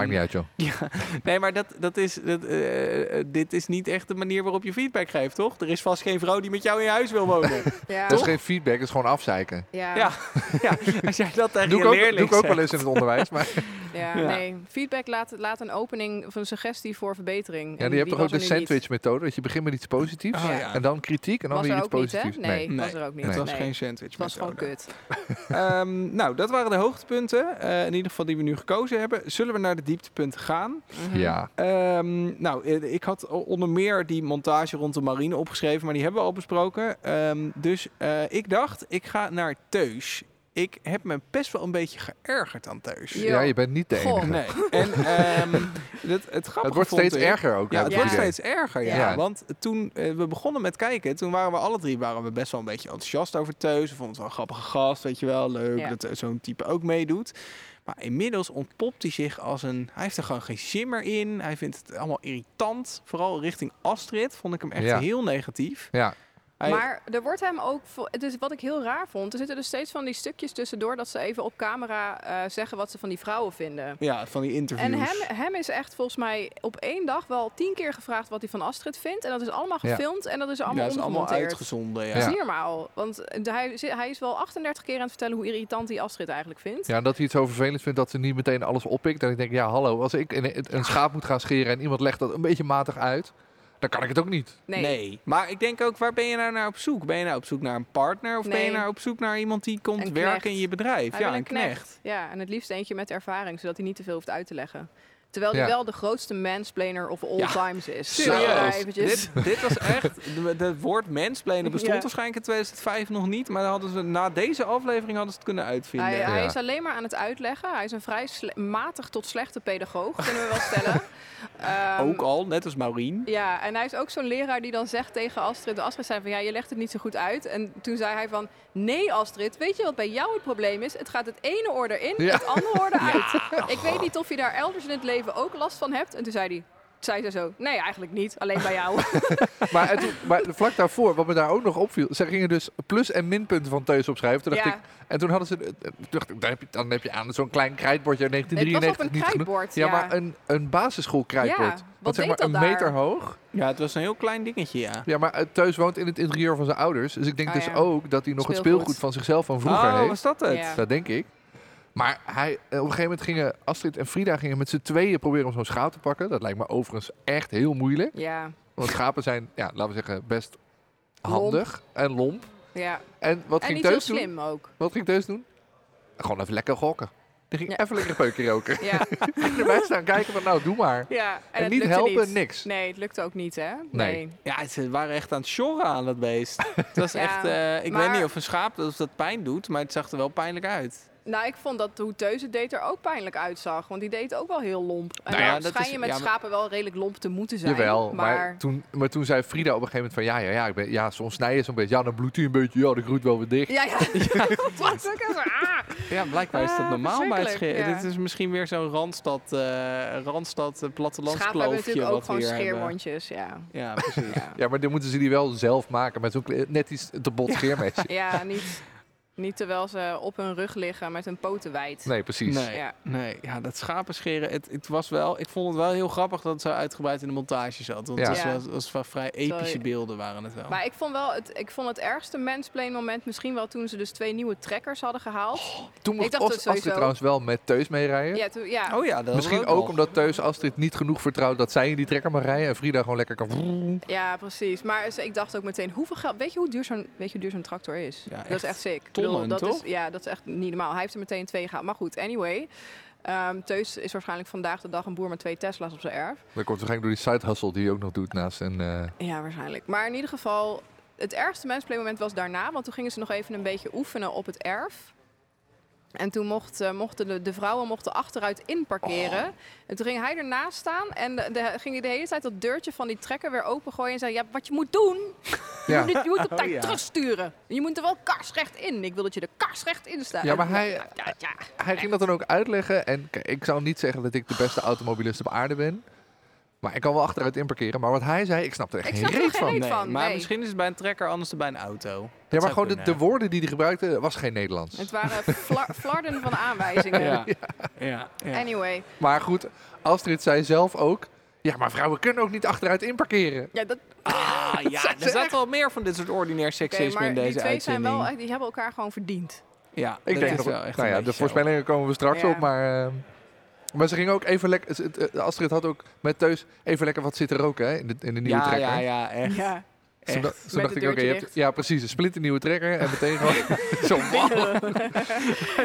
S1: Ehm,
S3: niet uit joh.
S1: Ja, nee, maar dat, dat is, dat, eh, eh, dit is niet echt de manier waarop je feedback geeft, toch? Er is vast geen vrouw die met jou in je huis wil wonen.
S2: Ja.
S3: Dat is geen feedback, dat is gewoon afzeiken.
S2: Ja.
S1: ja, ja, als jij dat tegen
S3: Doe ik,
S1: je
S3: ook, doe
S1: leerling
S3: ik ook wel
S1: zegt.
S3: eens in het onderwijs, maar
S2: Ja,
S1: Ja.
S2: nee. Feedback laat, laat een opening of een suggestie voor verbetering.
S3: ja,
S2: En
S3: die hebt toch ook
S2: was
S3: de
S2: er nu niet.
S3: sandwich methode, dat je begint met iets positiefs
S1: Oh,
S2: Ja.
S1: ja.
S3: en dan kritiek en dan
S2: Was
S3: weer
S2: er
S3: iets
S2: ook niet, hè?
S3: positiefs.
S2: Nee. was er ook niet.
S1: Het was
S2: Nee.
S1: geen sandwich.
S2: Het was gewoon
S1: methode.
S2: kut.
S1: Ehm, nou, dat waren de hoogtepunten. eh, in ieder geval die we nu gekozen hebben. Zullen we naar de dieptepunten gaan?
S2: Mhm.
S3: Ja,
S1: Ehm, nou, eh, ik had o- onder meer die montage rond de marine opgeschreven, maar die hebben we al besproken. Ehm, dus eh, ik dacht, ik ga naar Teus. Ik heb me best wel een beetje geërgerd aan Teus.
S2: Ja.
S3: ja, je bent niet de
S2: Hm. Goh.
S3: enige.
S1: Nee. En ehm, het, het grappige
S3: Het wordt
S1: vond
S3: steeds
S1: ik-
S3: erger ook.
S1: Ja,
S3: heb
S1: het
S3: ik
S1: wordt
S3: idee.
S1: steeds erger, ja.
S3: Ja.
S1: Want toen eh, we begonnen met kijken, toen waren we alle drie waren we best wel een beetje enthousiast over Teus. We vonden het wel een grappige gast, weet je wel. Leuk
S2: Ja.
S1: dat eh, zo'n type ook meedoet. Maar inmiddels ontpopt hij zich als een... Hij heeft er gewoon geen shimmer in. Hij vindt het allemaal irritant. Vooral richting Astrid vond ik hem echt
S3: Ja.
S1: heel negatief.
S3: Ja,
S1: Hij-
S2: Maar er wordt hem ook... vo- Het is wat ik heel raar vond. Er zitten dus steeds van die stukjes tussendoor... dat ze even op camera eh, zeggen wat ze van die vrouwen vinden.
S1: ja, van die interviews.
S2: En hem, eh, hem is echt volgens mij op één dag wel tien keer gevraagd... wat hij van Astrid vindt. En dat is allemaal
S3: Ja.
S2: gefilmd en dat is
S1: ja,
S2: allemaal
S1: dat is allemaal
S2: omgemonteerd.
S1: uitgezonden, ja.
S2: Dat
S3: Ja.
S2: is niet normaal. Want eh, hij, zi- hij is wel 38 keer aan het vertellen... hoe irritant hij Astrid eigenlijk vindt.
S3: Ja, en dat hij het zo vervelend vindt dat ze niet meteen alles oppikt. En ik denk, ja, hallo, als ik een, een schaap moet gaan scheren en iemand legt dat een beetje matig uit, dan kan ik het ook niet.
S2: Nee.
S1: Maar ik denk ook, waar ben je nou naar op zoek? Ben je nou op zoek naar een partner? Of ben je
S2: Nee.
S1: nou op zoek naar iemand die komt
S2: Een
S1: werken
S2: knecht.
S1: in je bedrijf?
S2: Hij
S1: ja,
S2: wil
S1: een knecht.
S2: Ja, en het liefst eentje met ervaring, zodat hij niet te veel hoeft uit te leggen. Terwijl hij
S3: Ja.
S2: wel de grootste mansplainer of all
S1: Ja.
S2: times is.
S3: Serieus?
S2: Laten we daar eventjes-
S1: Dit, dit was echt... de- Het woord mansplainen bestond
S2: Ja.
S1: waarschijnlijk in 2005 nog niet. Maar dan hadden ze, na deze aflevering hadden ze het kunnen uitvinden.
S2: Hij, hij
S3: Ja.
S2: is alleen maar aan het uitleggen. Hij is een vrij sle- matig tot slechte pedagoog, kunnen we wel stellen. Ehm,
S1: ook al, net als Maureen.
S2: Ja, en hij is ook zo'n leraar die dan zegt tegen Astrid... Astrid zei van, ja, je legt het niet zo goed uit. En toen zei hij van, nee Astrid, weet je wat bij jou het probleem is? Het gaat het ene oor erin,
S3: Ja.
S2: het andere oor eruit. Ik weet niet of je daar elders in het leven ook last van hebt. En toen zei hij... Zei ze zo, nee, eigenlijk niet. Alleen bij jou.
S3: Maar, en toen- maar vlak daarvoor, wat me daar ook nog opviel, ze gingen dus plus- en minpunten van Teus opschrijven. Toen dacht
S2: Ja.
S3: ik, en toen hadden ze, eh, toen dacht ik, dan heb je, dan heb je aan zo'n klein krijtbordje uit
S2: Het was op
S3: 1993
S2: een
S3: niet genoeg.
S2: krijtbord.
S3: Ja, maar eh, een, een basisschool
S2: Ja,
S3: krijtbord.
S2: wat
S3: Want zeg
S2: deed
S3: maar
S2: dat
S3: een
S2: daar?
S3: meter hoog.
S1: Ja, het was een heel klein dingetje, ja.
S3: Ja, maar eh, Teus woont in het interieur van zijn ouders. Dus ik denk
S2: Ah,
S3: dus
S2: ja.
S3: ook dat hij nog het
S2: Speelgoed.
S3: speelgoed van zichzelf van vroeger
S1: Oh,
S3: heeft.
S1: was dat het?
S2: Ja.
S3: Dat denk ik. Maar hij, eh, op een gegeven moment gingen Astrid en Frida gingen met z'n tweeën proberen om zo'n schaap te pakken. Dat lijkt me overigens echt heel moeilijk.
S2: Ja,
S3: Want schapen zijn, ja, laten we zeggen, best handig en lomp.
S2: Ja.
S3: En wat
S2: En
S3: ging
S2: niet heel
S3: Teus doen?
S2: slim ook.
S3: Wat ging Teus doen? Gewoon even lekker gokken. Die ging
S2: Ja.
S3: even lekker peukje roken.
S2: Ja,
S3: En erbij staan kijken van, nou, doe maar.
S2: ja. En,
S3: En,
S2: het
S3: niet
S2: lukte
S3: helpen,
S2: niet.
S3: niks.
S2: Nee, het lukte ook niet, hè?
S3: Nee.
S1: Ja, ze waren echt aan het sjorren aan dat beest. Het was
S2: Ja,
S1: echt, eh, ik weet
S2: maar-
S1: niet of een schaap dat, of dat pijn doet, maar het zag er wel pijnlijk uit.
S2: Nou, ik vond dat hoe Teus het deed er ook pijnlijk uitzag. Want die deed ook wel heel lomp. En
S1: Nou ja,
S2: dan
S1: dat
S2: schijn
S1: is-
S2: je met
S1: ja, maar-
S2: schapen wel redelijk lomp te moeten zijn.
S3: Jawel, maar,
S2: maar
S3: toen, maar toen zei Frida op een gegeven moment van... Ja, ja, ja, ik ben, ja soms snij je zo'n beetje. Ja, dan bloedt hij een beetje. Ja, dan groeit wel weer dicht.
S2: Ja, ja. dat was ook echt zo, ah.
S1: Ja, blijkbaar is dat
S2: Ah,
S1: normaal bij het
S2: verschrikkelijk,
S1: scheer.
S2: ja.
S1: Dit is misschien weer zo'n Randstad, eh Randstad eh,
S2: Schapen hebben
S1: plattelandskloofje
S2: natuurlijk ook
S1: wat we
S2: gewoon
S1: hier hebben.
S2: scheerwondjes, ja.
S1: Ja, precies.
S2: Ja,
S3: Ja, maar dan moeten ze die wel zelf maken met zo'n kle- net iets te bot scheermesje.
S2: ja niet, niet terwijl ze op hun rug liggen met hun poten wijd.
S3: Nee, precies.
S1: Nee,
S2: Ja.
S1: nee, ja, dat schapenscheren, het, het was wel, ik vond het wel heel grappig dat het zo uitgebreid in de montage zat. Want
S3: Ja.
S1: het was,
S2: Ja.
S1: was, was wel vrij epische
S2: Sorry.
S1: beelden waren het wel.
S2: Maar ik vond wel het, ik vond het ergste mansplain moment misschien wel toen ze dus twee nieuwe trekkers hadden gehaald.
S3: Toen moest
S2: Ik dacht
S3: Os-
S2: dat
S3: Astrid
S2: sowieso-
S3: trouwens wel met Teus mee rijden.
S2: Ja, toen, ja.
S1: oh ja, dat
S3: Misschien
S1: was
S3: ook
S1: nog.
S3: omdat Teus Astrid niet genoeg vertrouwt dat zij in die trekker mag rijden. En Frida gewoon lekker kan...
S2: ja, precies. Maar ze- ik dacht ook meteen, hoeveel geld... Weet je hoe duur zo'n, weet je hoe duur zo'n tractor is?
S1: Ja,
S2: dat is
S1: echt
S2: echt sick. Ik
S1: tonnen,
S2: dat
S1: toch?
S2: Is, ja, dat is echt niet normaal. Hij heeft er meteen twee gehaald. Maar goed, anyway. Ehm, Teus is waarschijnlijk vandaag de dag een boer met twee Tesla's op zijn erf.
S3: Dan komt waarschijnlijk door die side hustle die hij ook nog doet naast een... eh,
S2: Ja, waarschijnlijk. Maar in ieder geval, het ergste mensplaymoment was daarna. Want toen gingen ze nog even een beetje oefenen op het erf. En toen mocht, eh, mochten de, de vrouwen mochten achteruit inparkeren.
S1: Oh.
S2: En toen ging hij ernaast staan. En de, de- ging hij de hele tijd dat deurtje van die trekker weer opengooien. En zei, ja, wat je moet doen, je
S3: ja.
S2: moet, het- je moet op tijd
S1: Oh, ja.
S2: terugsturen. Je moet er wel karsrecht in. Ik wil dat je er karsrecht in staat.
S3: Ja, maar hij-
S2: Ja, ja, ja.
S3: Hij ging dat dan ook uitleggen. En kijk, ik zou niet zeggen dat ik de beste automobilist op aarde ben. Maar ik kan wel achteruit inparkeren. Maar wat hij zei, ik snap er echt
S2: Ik
S3: geen
S2: snap er
S3: reet
S2: geen
S3: van.
S2: reet
S1: Nee,
S2: van,
S1: maar
S2: nee.
S1: misschien is het bij een trekker anders dan bij een auto.
S3: Ja,
S1: Dat
S3: maar
S1: zou
S3: gewoon de,
S1: kunnen,
S3: de woorden die hij gebruikte, eh, was geen Nederlands.
S2: Het waren flar- flarden van aanwijzingen.
S1: Ja, ja, ja.
S2: Anyway,
S3: Maar goed, Astrid zei zelf ook... Ja, maar vrouwen kunnen ook niet achteruit inparkeren.
S2: ja, dat,
S1: Ah, ja, er zat wel meer van dit soort ordinair
S2: oké,
S1: seksisme
S2: maar
S1: in
S2: die
S1: deze
S2: twee zijn
S1: uitzending.
S2: wel, echt- die hebben elkaar gewoon verdiend.
S1: Ja,
S3: Ik
S1: dat
S3: denk
S1: is
S3: nog
S1: wel echt
S3: nou
S1: een
S3: ja, de
S1: beetje zo.
S3: voorspellingen komen we straks
S2: Ja.
S3: op, maar... eh, maar ze ging ook even lekker... ze- het, eh, Astrid had ook met Teus even lekker wat zitten roken hè, in, de, in de nieuwe
S1: ja,
S3: trekker.
S1: Ja, ja, echt.
S2: Ja.
S3: Toen da-
S1: echt.
S3: toen
S2: Met
S3: dacht
S2: het
S3: ik, oké,
S2: deurtje
S3: je hebt-
S2: dicht.
S3: ja precies, een splinter nieuwe trekker en meteen gewoon zo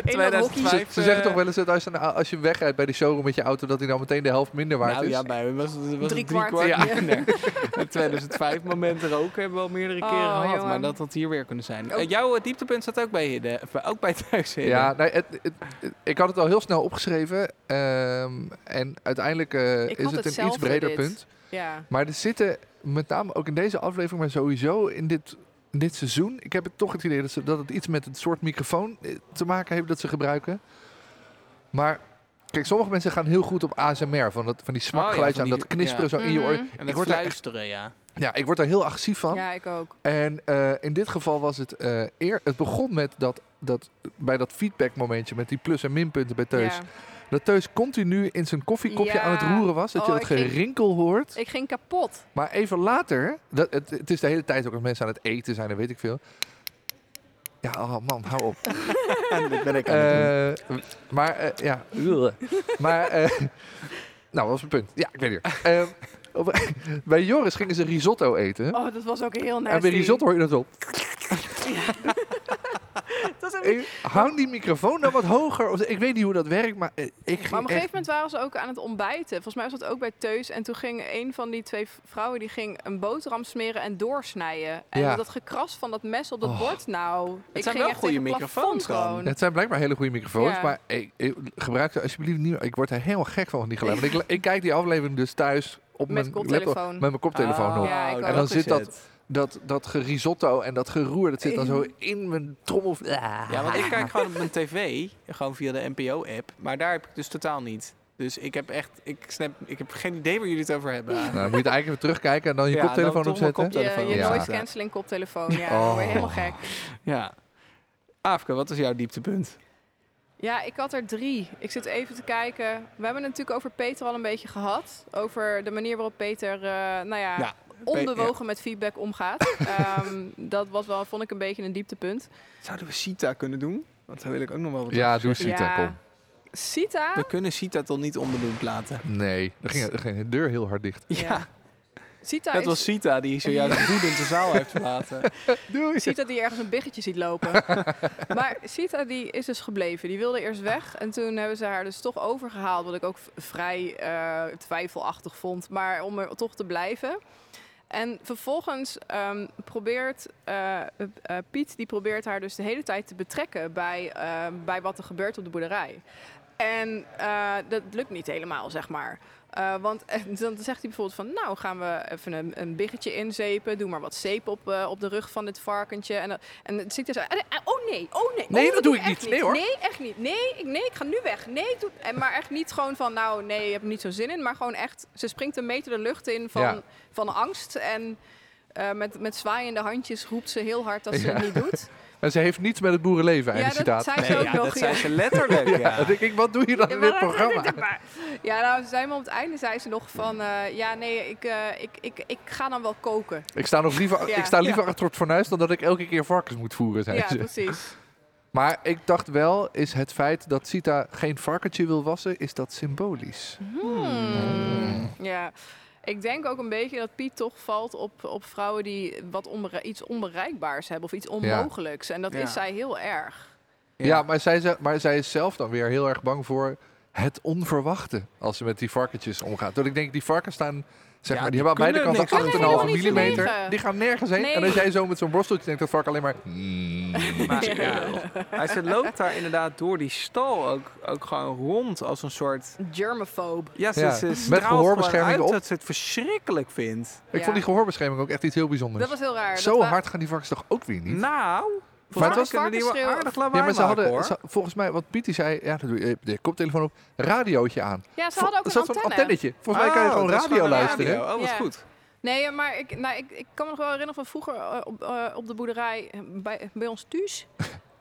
S2: In dat hokje.
S3: Ze, ze
S2: eh,
S3: zeggen toch wel eens dat als, je- als je wegrijdt bij die showroom met je auto, dat hij dan meteen de helft minder waard
S1: Nou
S3: is.
S1: ja, bij hem was het was het
S2: Drie
S1: drie
S2: kwart.
S1: kwart
S2: Ja.
S1: minder. Het 2005 moment er ook hebben we al meerdere
S2: Oh,
S1: keren gehad.
S2: jongen.
S1: Maar dat had hier weer kunnen zijn.
S2: Ook-
S1: Eh, jouw eh, dieptepunt staat ook bij, Hidde, of, eh, ook bij thuis Hidde.
S3: Ja, nee, het, het- het- ik had het al heel snel opgeschreven. ehm, en uiteindelijk eh,
S2: Ik
S3: is
S2: had
S3: het een iets
S2: hetzelfde
S3: breder
S2: dit.
S3: punt.
S2: Ja.
S3: Maar er zitten, met name ook in deze aflevering, maar sowieso in dit, in dit seizoen. Ik heb het toch het idee dat, ze, dat het iets met het soort microfoon eh, te maken heeft dat ze gebruiken. Maar kijk, sommige mensen gaan heel goed op ASMR. Van, dat, van die smakgeluid
S1: Oh van
S3: aan,
S1: die-
S3: dat knisperen
S1: ja.
S3: zo in je oor.
S2: Mhm.
S1: En
S3: Ik
S1: dat
S3: word, daar, echt-
S1: luisteren, ja.
S3: ja, ik word daar heel agressief van.
S2: ja, ik ook.
S3: En eh, in dit geval was het eh, eer. Het begon met dat, dat bij dat feedbackmomentje met die plus- en minpunten bij Teus.
S2: Ja.
S3: Dat Teus continu in zijn koffiekopje
S2: Ja.
S3: aan het roeren was. Dat je
S2: Oh,
S3: dat
S2: ik ging-
S3: gerinkel hoort.
S2: Ik ging kapot.
S3: Maar even later, dat, het, het is de hele tijd ook als mensen aan het eten zijn, en weet ik veel. Ja, oh man, hou op.
S1: dat ben ik
S3: Eh, maar eh, ja, maar eh, nou, wat was mijn punt? Ja, ik weet het. weer. Ehm, op- bij Joris gingen ze risotto eten.
S2: Oh, dat was ook heel nasty.
S3: en bij risotto hoor je dat op.
S2: Dat is een-
S3: Ik- Hou die microfoon dan wat hoger. Of- Ik weet niet hoe dat werkt, maar eh, ik ging
S2: Maar op een gegeven
S3: echt...
S2: moment waren ze ook aan het ontbijten. Volgens mij was dat ook bij Teus. En toen ging een van die twee v- vrouwen die ging een boterham smeren en doorsnijden. En
S3: Ja.
S2: dat gekras van dat mes op dat
S3: Oh.
S2: bord, nou. ik
S1: zijn
S2: ging
S1: wel
S2: echt
S1: goede
S2: tegen het
S1: microfoons
S2: plafond
S1: dan.
S2: gewoon.
S3: Het zijn blijkbaar hele goede microfoons,
S2: Ja.
S3: maar ik, ik- gebruik ze alsjeblieft niet. Ik word er helemaal gek van, van die geluiden. Want ik, ik kijk die aflevering dus thuis op
S2: Met
S3: mijn
S2: koptelefoon. Ah,
S3: laptop- met mijn koptelefoon op.
S2: Oh, Ja, ik ook.
S3: En dan zit dat- Dat, dat gerisotto en dat geroer, dat zit dan zo in mijn trommel. Ah.
S1: Ja, want ik kijk gewoon op mijn tv, gewoon via de NPO-app. Maar daar heb ik dus totaal niet. Dus ik heb echt, ik snap, ik heb geen idee waar jullie het over hebben.
S3: Nou, dan moet je het eigenlijk even terugkijken en dan je
S1: Ja,
S3: koptelefoon
S1: dan toch mijn
S3: opzetten.
S1: koptelefoon.
S2: Je, je
S3: Ja.
S2: noise cancelling koptelefoon. Ja,
S3: Oh.
S2: ik word helemaal gek.
S1: Ja. Afke, wat is jouw dieptepunt?
S2: Ja, ik had er drie. Ik zit even te kijken. We hebben het natuurlijk over Peter al een beetje gehad. Over de manier waarop Peter, eh, nou ja,
S1: Ja,
S2: onbewogen met feedback omgaat. Ehm, dat was wel, vond ik, een beetje een dieptepunt.
S1: Zouden we Sita kunnen doen? Want daar wil ik ook nog wel wat
S3: Ja,
S1: over
S3: doe
S1: zeggen.
S3: Sita,
S2: Ja.
S3: kom.
S2: Sita? Ah.
S1: We kunnen Sita toch niet onbenoemd laten?
S3: Nee, dan ging, dan ging de deur heel hard dicht.
S1: Ja.
S2: Sita,
S1: Het
S2: is,
S1: was Sita die zojuist woedend de zaal heeft verlaten.
S3: Doei.
S2: Sita die ergens een biggetje ziet lopen. maar Sita die is dus gebleven. Die wilde eerst weg. En toen hebben ze haar dus toch overgehaald. Wat ik ook v- vrij eh, twijfelachtig vond. Maar om er toch te blijven. En vervolgens ehm, probeert eh, eh, Piet die probeert haar dus de hele tijd te betrekken bij, eh, bij wat er gebeurt op de boerderij. En eh, dat lukt niet helemaal, zeg maar. Eh, want eh, dan zegt hij bijvoorbeeld van, nou gaan we even een, een biggetje inzepen. Doe maar wat zeep op, eh, op de rug van dit varkentje. En, dat- en het ziet er zo, eh, eh, oh nee, oh nee.
S3: Nee,
S2: oh,
S3: dat doe ik
S2: echt
S3: niet. Nee, hoor.
S2: Nee, echt niet. Nee, ik, nee, ik ga nu weg. Nee, doe, en, maar echt niet gewoon van, nou nee, ik heb er niet zo zin in. Maar gewoon echt, ze springt een meter de lucht in van,
S3: Ja.
S2: van angst. En eh, met, met zwaaiende handjes roept ze heel hard dat ze
S3: Ja.
S2: het niet doet.
S3: En ze heeft niets met het boerenleven,
S2: ja,
S3: einde citaat.
S2: dat zei ze
S1: Nee,
S2: ook
S1: ja,
S2: nog.
S1: dat
S2: ja.
S1: zei ze letterlijk. Ja.
S3: Ja, dan denk ik, wat doe je dan in dit
S2: Ja, maar-
S3: programma?
S2: Ja, nou, ze zei me op het einde zei ze nog van, eh, ja, nee, ik, eh, ik, ik, ik ga dan wel koken.
S3: Ik sta, nog liever,
S2: Ja.
S3: ik sta liever achter het fornuis dan dat ik elke keer varkens moet voeren, zei
S2: Ja,
S3: ze.
S2: precies.
S3: Maar ik dacht wel, is het feit dat Sita geen varkentje wil wassen, is dat symbolisch?
S2: Hmm. Ja. Ik denk ook een beetje dat Piet toch valt op, op vrouwen die wat onbere- iets onbereikbaars hebben of iets onmogelijks. En dat
S1: Ja.
S2: is zij heel erg.
S3: Ja, maar, zij, ze- maar zij is zelf dan weer heel erg bang voor het onverwachte als ze met die varkentjes omgaat. Want ik denk, die varkens staan, zeg
S1: Ja,
S3: maar, die,
S1: die
S3: hebben aan
S1: kunnen
S3: beide
S1: niks.
S3: kanten
S1: Kunnen
S3: 8,5
S1: helemaal niet
S3: millimeter.
S2: vliegen.
S3: Die gaan nergens heen.
S2: Nee.
S3: En als jij zo met zo'n borsteltje denkt, dat vark alleen maar... "Mm."
S1: Maar, ja. Maar ze loopt daar inderdaad door die stal ook, ook gewoon rond als een soort...
S2: Germophobe.
S1: Ja, ze,
S3: Ja,
S1: ze
S3: met
S1: straalt gewoon
S3: gehoorbescherming
S1: uit
S3: op.
S1: dat ze het verschrikkelijk vindt.
S3: Ik
S2: Ja.
S3: vond die gehoorbescherming ook echt iets heel bijzonders.
S2: Dat was heel raar.
S3: zo
S2: Dat wa-
S3: hard gaan die varkens toch ook weer niet?
S1: Nou, volgens mij
S3: was-
S1: kunnen die wel
S2: varkensschreeuw-
S1: aardig lawaai
S3: Ja, maar ze
S1: maken,
S3: hadden,
S1: hoor.
S3: ze- volgens mij, wat Pietie zei, ja, dat doe je, eh, de koptelefoon op, radiootje aan.
S2: Ja, ze hadden
S3: Er
S2: ook een
S3: zat zo'n
S2: antenne.
S3: antennetje. Volgens mij kan je
S1: Oh,
S3: gewoon
S1: dat is
S3: radio
S1: een
S3: luisteren.
S1: radio. Oh, wat
S2: Ja.
S1: goed.
S2: Nee, maar ik, nou, ik, ik kan me nog wel herinneren van vroeger eh, op, eh, op de boerderij eh, bij, bij ons thuis.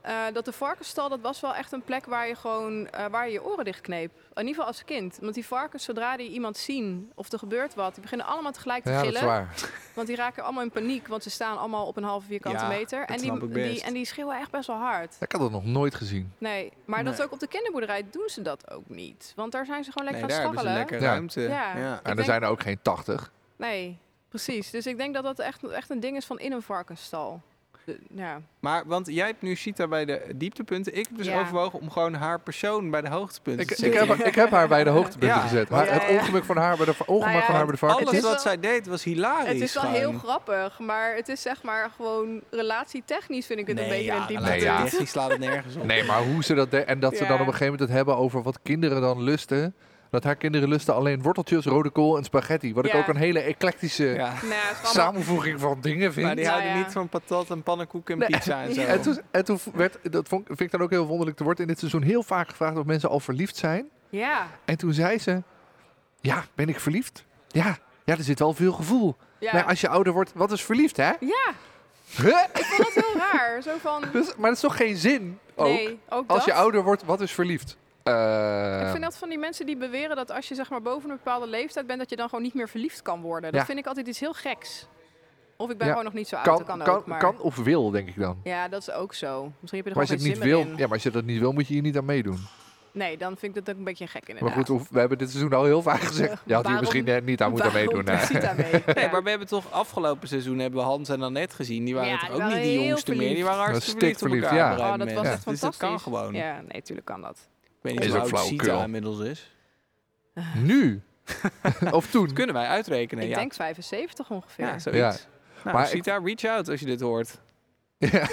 S2: eh, dat de varkensstal, dat was wel echt een plek waar je gewoon eh, waar je, je oren dichtkneep. In ieder geval als kind. Want die varkens, zodra die iemand zien of er gebeurt wat, die beginnen allemaal tegelijk te
S3: Ja, dat is
S2: gillen.
S3: waar.
S2: Want die raken allemaal in paniek, want ze staan allemaal op een halve vierkante
S1: Ja,
S2: meter.
S1: dat
S2: En
S1: snap
S2: die,
S1: ik best.
S2: die, en die schreeuwen echt best wel hard.
S3: Ik had dat nog nooit gezien.
S2: Nee, maar dat is
S1: Nee.
S2: ook op de kinderboerderij doen ze dat ook niet. Want daar zijn ze gewoon
S1: Nee,
S2: lekker
S1: daar
S2: aan het
S1: hebben ze
S2: scharrelen.
S1: lekker
S3: Ja.
S1: ruimte.
S2: Ja.
S1: Ja.
S3: En er
S2: denk-
S3: zijn er ook geen 80.
S2: Nee, precies. Dus ik denk dat dat echt, echt een ding is van in een varkensstal. De- ja.
S1: Maar, want jij hebt nu Sita bij de dieptepunten. Ik heb dus
S2: Ja.
S1: overwogen om gewoon haar persoon bij de hoogtepunten
S3: Ik,
S1: te
S3: ik,
S1: zetten.
S3: heb, ik heb haar bij de hoogtepunten
S1: Ja.
S3: gezet. Haar-
S2: Ja,
S3: het
S2: ja.
S3: ongemak van haar bij de, va- ongemak
S2: Nou ja,
S3: van haar bij de
S1: Alles
S3: varkentjes.
S2: is
S1: wat
S2: wel-
S1: zij deed was hilarisch.
S2: Het is wel
S1: gewoon.
S2: heel grappig, maar het is zeg maar gewoon relatietechnisch vind ik het
S1: Nee,
S2: een beetje
S1: ja,
S2: een diepte.
S3: nee,
S1: nee,
S3: ja.
S1: Die slaat het nergens op.
S3: Nee, maar hoe ze dat deed. En dat ze
S2: Ja.
S3: dan op een gegeven moment het hebben over wat kinderen dan lusten. Dat haar kinderen lusten alleen worteltjes, rode kool en spaghetti. Wat ik
S2: Ja.
S3: ook een hele eclectische
S1: Ja.
S2: Nou, het is allemaal-
S3: samenvoeging van dingen vind.
S1: Maar die
S2: Nou
S1: houden
S2: ja.
S1: niet van patat en pannenkoek en
S3: Nee.
S1: pizza en zo.
S3: En toen, en toen werd, dat vond, vind ik dan ook heel wonderlijk, er wordt in dit seizoen heel vaak gevraagd of mensen al verliefd zijn.
S2: ja.
S3: En toen zei ze, ja, ben ik verliefd? Ja, ja er zit wel veel gevoel.
S2: Ja.
S3: Maar als je ouder wordt, wat is verliefd, hè?
S2: ja,
S3: Huh?
S2: ik vond dat heel raar. Zo van,
S3: Dus, maar dat is toch geen zin ook?
S2: nee, ook
S3: als
S2: dat.
S3: je ouder wordt, wat is verliefd? Eh,
S2: Ik vind dat van die mensen die beweren dat als je zeg maar boven een bepaalde leeftijd bent, dat je dan gewoon niet meer verliefd kan worden. Dat
S3: Ja.
S2: vind ik altijd iets heel geks. Of ik ben
S3: Ja.
S2: gewoon nog niet zo oud,
S3: kan,
S2: dat kan,
S3: kan-
S2: ook. Maar...
S3: kan of wil, denk ik dan.
S2: Ja, dat is ook zo. Misschien heb je er
S3: Maar als je
S2: gewoon
S3: het
S2: geen
S3: niet
S2: zin meer
S3: wil,
S2: in.
S3: ja, maar als je dat niet wil, moet je hier niet aan meedoen.
S2: Nee, dan vind ik dat ook een beetje gek inderdaad.
S3: Maar goed, hoe- we hebben dit seizoen al heel vaak gezegd. Je had hier
S2: Waarom-
S3: misschien eh, niet aan moeten
S2: Waarom
S3: meedoen.
S2: doet
S3: hè?
S2: Sita mee?
S1: Nee,
S2: Ja.
S1: maar we hebben toch afgelopen seizoen hebben we Hans en Annette gezien. Die waren
S2: Ja,
S1: toch
S2: die
S1: ook
S2: waren
S1: niet de
S2: heel
S1: jongste meer. Die
S2: verliefd.
S1: waren hartstikke verliefd op
S3: stikverliefd,
S1: elkaar.
S3: ja.
S1: op een
S2: Oh, dat
S1: gegeven
S2: was
S1: moment.
S2: echt
S1: Dus dat
S2: fantastisch.
S1: kan gewoon.
S2: Ja, nee, tuurlijk kan dat.
S1: Ik weet
S3: Is
S1: niet hoe
S3: ook
S1: oud Sita
S3: flauwekul.
S1: inmiddels is.
S3: Nu? of toen?
S1: Kunnen wij uitrekenen,
S2: Mm. ik
S1: ja.
S2: denk 75 ongeveer.
S1: Ja, zoiets. Nou,
S3: Maar ik-
S1: Sita, reach out als je dit hoort.
S3: Ja.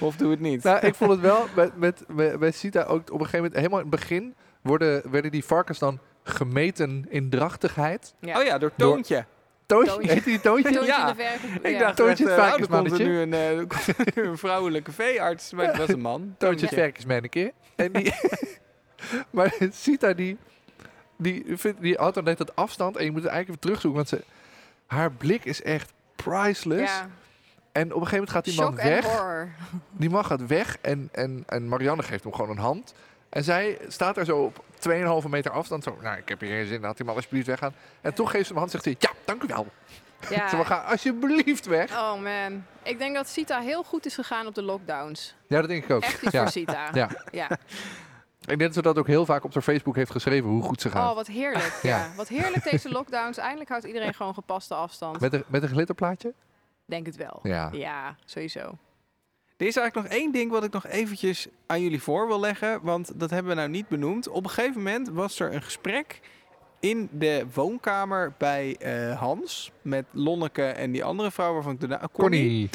S1: Of doe het niet.
S3: Nou, ik vond het wel met, met, met, met Sita ook op een gegeven moment, helemaal in het begin, worden, werden die varkens dan gemeten in drachtigheid.
S1: Oh ja, door
S3: Door-
S1: Toontje.
S3: Toontje,
S2: Toontje.
S3: heet die Toontje?
S2: Toen
S1: Ja.
S2: in de verf-
S1: Ik
S2: ja.
S1: dacht,
S3: Toontje
S1: echt,
S3: het
S1: eh, oh, er komt er
S3: varkensmannetje.
S1: nu een, eh, er komt nu een vrouwelijke veearts, maar het was een man.
S3: Toontje het varkensmannetje. En die, maar Sita die, die, vindt, die had dan net dat afstand en je moet het eigenlijk even terugzoeken, want ze, haar blik is echt priceless.
S2: Ja.
S3: En op een gegeven moment gaat die man
S2: Shock en
S3: weg.
S2: horror.
S3: Die man gaat weg en, en, en Marianne geeft hem gewoon een hand. En zij staat daar zo op 2,5 meter afstand. Zo, nou, ik heb hier geen zin, laat die man alsjeblieft weggaan. En toch geeft ze hem een hand zegt hij, ja, dank u wel. Ze
S2: Ja.
S3: maar, ga alsjeblieft weg.
S2: Oh man. Ik denk dat Sita heel goed is gegaan op de lockdowns.
S3: Ja, dat denk ik ook.
S2: Echt iets
S3: Ja.
S2: voor Sita.
S3: Ja.
S2: Ja.
S3: Ik denk dat ze dat ook heel vaak op haar Facebook heeft geschreven, hoe goed ze gaat.
S2: Oh, wat heerlijk. ja.
S3: Ja.
S2: wat heerlijk deze lockdowns. Eindelijk houdt iedereen gewoon gepaste afstand.
S3: met, een, met een glitterplaatje?
S2: Denk het wel.
S3: Ja.
S2: Ja, sowieso.
S1: Er is eigenlijk nog één ding wat ik nog eventjes aan jullie voor wil leggen. Want dat hebben we nou niet benoemd. Op een gegeven moment was er een gesprek in de woonkamer bij eh, Hans. Met Lonneke en die andere vrouw waarvan ik de naam... Connie.
S3: Connie.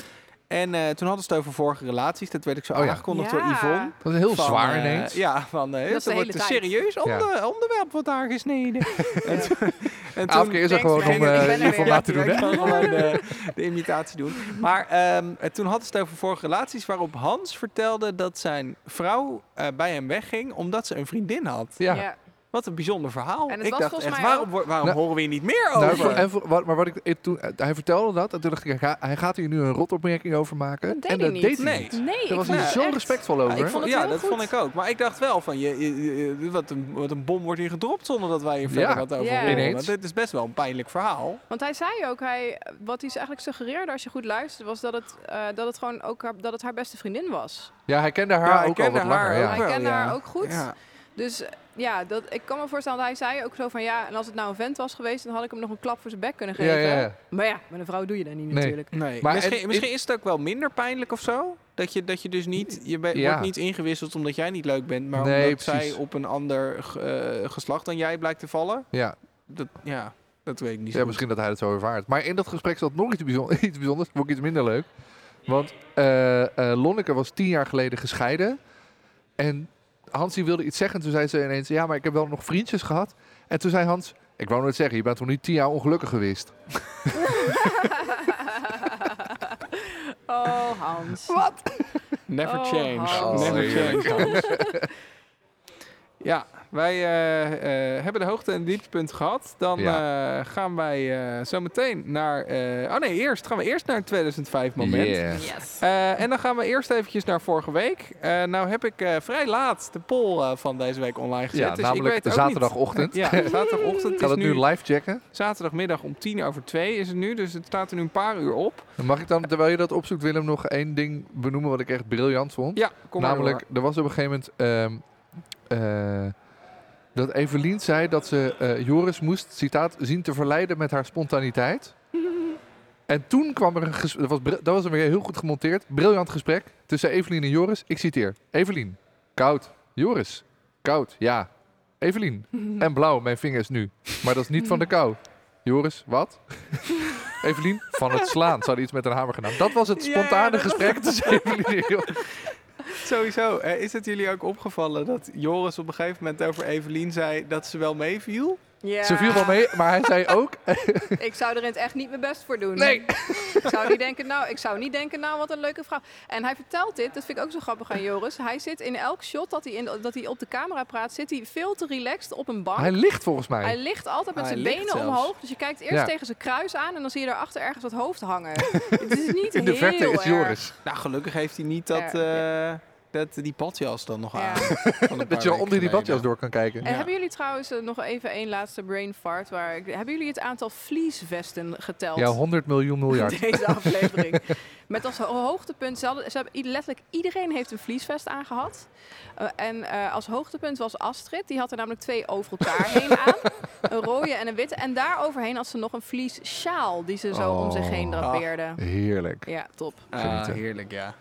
S1: En eh, toen hadden ze het over vorige relaties. Dat werd ik zo
S3: Oh ja.
S1: aangekondigd
S2: Ja.
S1: door Yvonne.
S3: Dat is heel
S1: Van,
S3: zwaar
S1: eh,
S3: ineens.
S1: ja, van eh
S2: Dat is de
S1: dat wordt
S2: hele
S1: een
S2: tijd.
S1: serieus onder, onderwerp wat daar gesneden. en, toen- en
S3: Elke keer is er
S2: Thanks,
S3: gewoon
S2: man.
S3: om eh,
S2: Ik ben er weer.
S3: hiervoor
S2: Ja,
S3: laten doen.
S1: Ik
S3: Hè?
S1: kan gewoon de, eh, de imitatie doen. Maar ehm, eh, toen hadden ze het over vorige relaties waarop Hans vertelde dat zijn vrouw eh, bij hem wegging omdat ze een vriendin had.
S3: Ja.
S2: Ja.
S1: Wat een bijzonder verhaal.
S2: En het
S1: ik
S2: was
S1: dacht
S2: volgens
S1: echt,
S2: mij
S1: waarom, wo- waarom
S3: Nou,
S1: horen we hier niet meer
S2: Oh,
S3: Nou,
S1: over?
S3: voor- en voor- wat, maar wat ik, ik toen, hij vertelde dat en toen dacht ik, hij, hij gaat hier nu een rotopmerking over maken.
S2: Dat deed
S3: en
S2: hij
S3: dat
S2: niet.
S3: deed hij
S1: Nee.
S3: niet.
S2: Nee,
S3: Daar was
S1: vond
S3: hij
S1: het
S3: zo respectvol over.
S2: ik vond het
S1: ja,
S2: heel
S1: dat
S2: goed.
S1: vond ik ook. Maar ik dacht wel van, je, je- je- wat, een, wat een bom wordt hier gedropt zonder dat wij hier verder
S3: Ja.
S1: wat over
S2: Ja.
S1: horen.
S3: Ineens.
S1: Want dit is best wel een pijnlijk verhaal.
S2: Want hij zei ook, hij, wat hij eigenlijk suggereerde als je goed luisterde, was dat het, eh, dat het gewoon ook haar, dat het haar beste vriendin was.
S3: Ja, hij kende haar
S1: Ja, hij
S3: ook al
S1: kende
S3: wat langer.
S1: haar
S3: ja.
S1: ook.
S2: hij
S1: wel,
S2: kende
S1: ja.
S2: haar ook goed.
S1: Ja.
S2: Dus eh, ja, dat, ik kan me voorstellen dat hij zei ook zo van ja, en als het nou een vent was geweest, dan had ik hem nog een klap voor zijn bek kunnen
S3: Ja,
S2: geven.
S3: ja, ja.
S2: Maar ja, met een vrouw doe je dat niet
S3: Nee.
S2: natuurlijk.
S1: Nee,
S3: Maar
S1: misschien,
S3: het-
S1: misschien is het ook wel minder pijnlijk of zo. Dat je, dat je dus niet, je be-
S3: Ja.
S1: wordt niet ingewisseld omdat jij niet leuk bent, maar
S3: Nee,
S1: omdat
S3: precies.
S1: zij op een ander ge- eh, geslacht dan jij blijkt te vallen.
S3: Ja.
S1: Dat, ja, dat weet ik niet. zo
S3: ja,
S1: goed.
S3: misschien dat hij het zo ervaart. Maar in dat gesprek zat nog iets, bijzon- iets bijzonders, ook iets minder leuk. Want eh, eh, Lonneke was tien jaar geleden gescheiden. En Hans die wilde iets zeggen. Toen zei ze ineens, ja, maar ik heb wel nog vriendjes gehad. En toen zei Hans, ik wou nooit zeggen, je bent toch niet tien jaar ongelukkig geweest?
S2: oh, Hans.
S1: Never
S2: Oh,
S1: change.
S2: Hans.
S1: Never
S3: Oh,
S1: change.
S3: heerlijk.
S1: Hans. ja, wij eh, eh, hebben de hoogte- en dieptepunt gehad. Dan eh, gaan wij eh zo meteen naar... eh, oh nee, eerst gaan we eerst naar het 2005 moment.
S3: Yeah.
S2: Yes.
S1: Eh, en dan gaan we eerst eventjes naar vorige week. Eh, nou heb ik eh, vrij laat de poll eh, van deze week online gezet.
S3: Ja,
S1: dus
S3: namelijk
S1: ik weet ook
S3: zaterdagochtend.
S1: Niet, ja, zaterdagochtend. Het
S3: Ik ga
S1: is
S3: dat
S1: nu
S3: nu live checken.
S1: zaterdagmiddag om tien over twee is het nu. Dus het staat er nu een paar uur op.
S3: Dan Mag ik dan, terwijl je dat opzoekt, Willem, nog één ding benoemen wat ik echt briljant vond?
S1: Ja, kom maar
S3: Namelijk, er was op een gegeven moment ehm, eh, dat Evelien zei dat ze eh, Joris moest, citaat, zien te verleiden met haar spontaniteit. En toen kwam er een gesprek, dat was, bri- dat was weer heel goed gemonteerd, briljant gesprek tussen Evelien en Joris. Ik citeer, Evelien, koud. Joris, koud, ja. Evelien, en blauw, mijn vingers nu. Maar dat is niet van de kou. Joris, wat? Evelien, van het slaan. Ze hadden iets met een hamer gedaan. Dat was het
S1: Ja,
S3: spontane
S1: dat was-
S3: gesprek tussen Evelien en Joris.
S1: door. Sowieso, eh, is het jullie ook opgevallen dat Joris op een gegeven moment over Evelien zei dat ze wel meeviel?
S2: Ja.
S3: Ze viel wel mee, maar hij zei ook...
S2: Ik zou er in het echt niet mijn best voor doen.
S3: Nee.
S2: Ik zou niet denken, nou, ik zou niet denken, nou, wat een leuke vrouw. En hij vertelt dit, dat vind ik ook zo grappig aan Joris. Hij zit in elk shot dat hij, in, dat hij op de camera praat, zit hij veel te relaxed op een bank.
S3: Hij ligt volgens mij.
S2: Hij ligt altijd met
S1: Hij
S2: zijn
S1: ligt
S2: benen
S1: zelfs.
S2: omhoog. Dus je kijkt eerst
S3: Ja.
S2: tegen zijn kruis aan en dan zie je daarachter ergens dat hoofd hangen. Het is niet
S3: In de
S2: heel
S3: verte is
S2: erg.
S3: Joris.
S1: Nou, gelukkig heeft hij niet dat, eh, dat die badjas dan nog
S2: Ja.
S1: aan.
S3: Dat je al onder die badjas door kan kijken.
S2: En
S1: Ja.
S2: hebben jullie trouwens eh, nog even één laatste brain fart? Waar ik, hebben jullie het aantal vliesvesten geteld?
S3: Ja, 100 miljoen miljard.
S2: Deze aflevering. Met als ho- hoogtepunt, ze hadden- ze hebben, i- letterlijk iedereen heeft een vliesvest aangehad. Eh, en eh, als hoogtepunt was Astrid, die had er namelijk twee over elkaar heen aan. Een rode en een witte. En daaroverheen had ze nog een vliessjaal die ze zo om zich heen
S3: Oh.
S2: drapeerde.
S3: Heerlijk.
S2: Ja, top.
S3: Genieten.
S1: Ah, heerlijk, ja.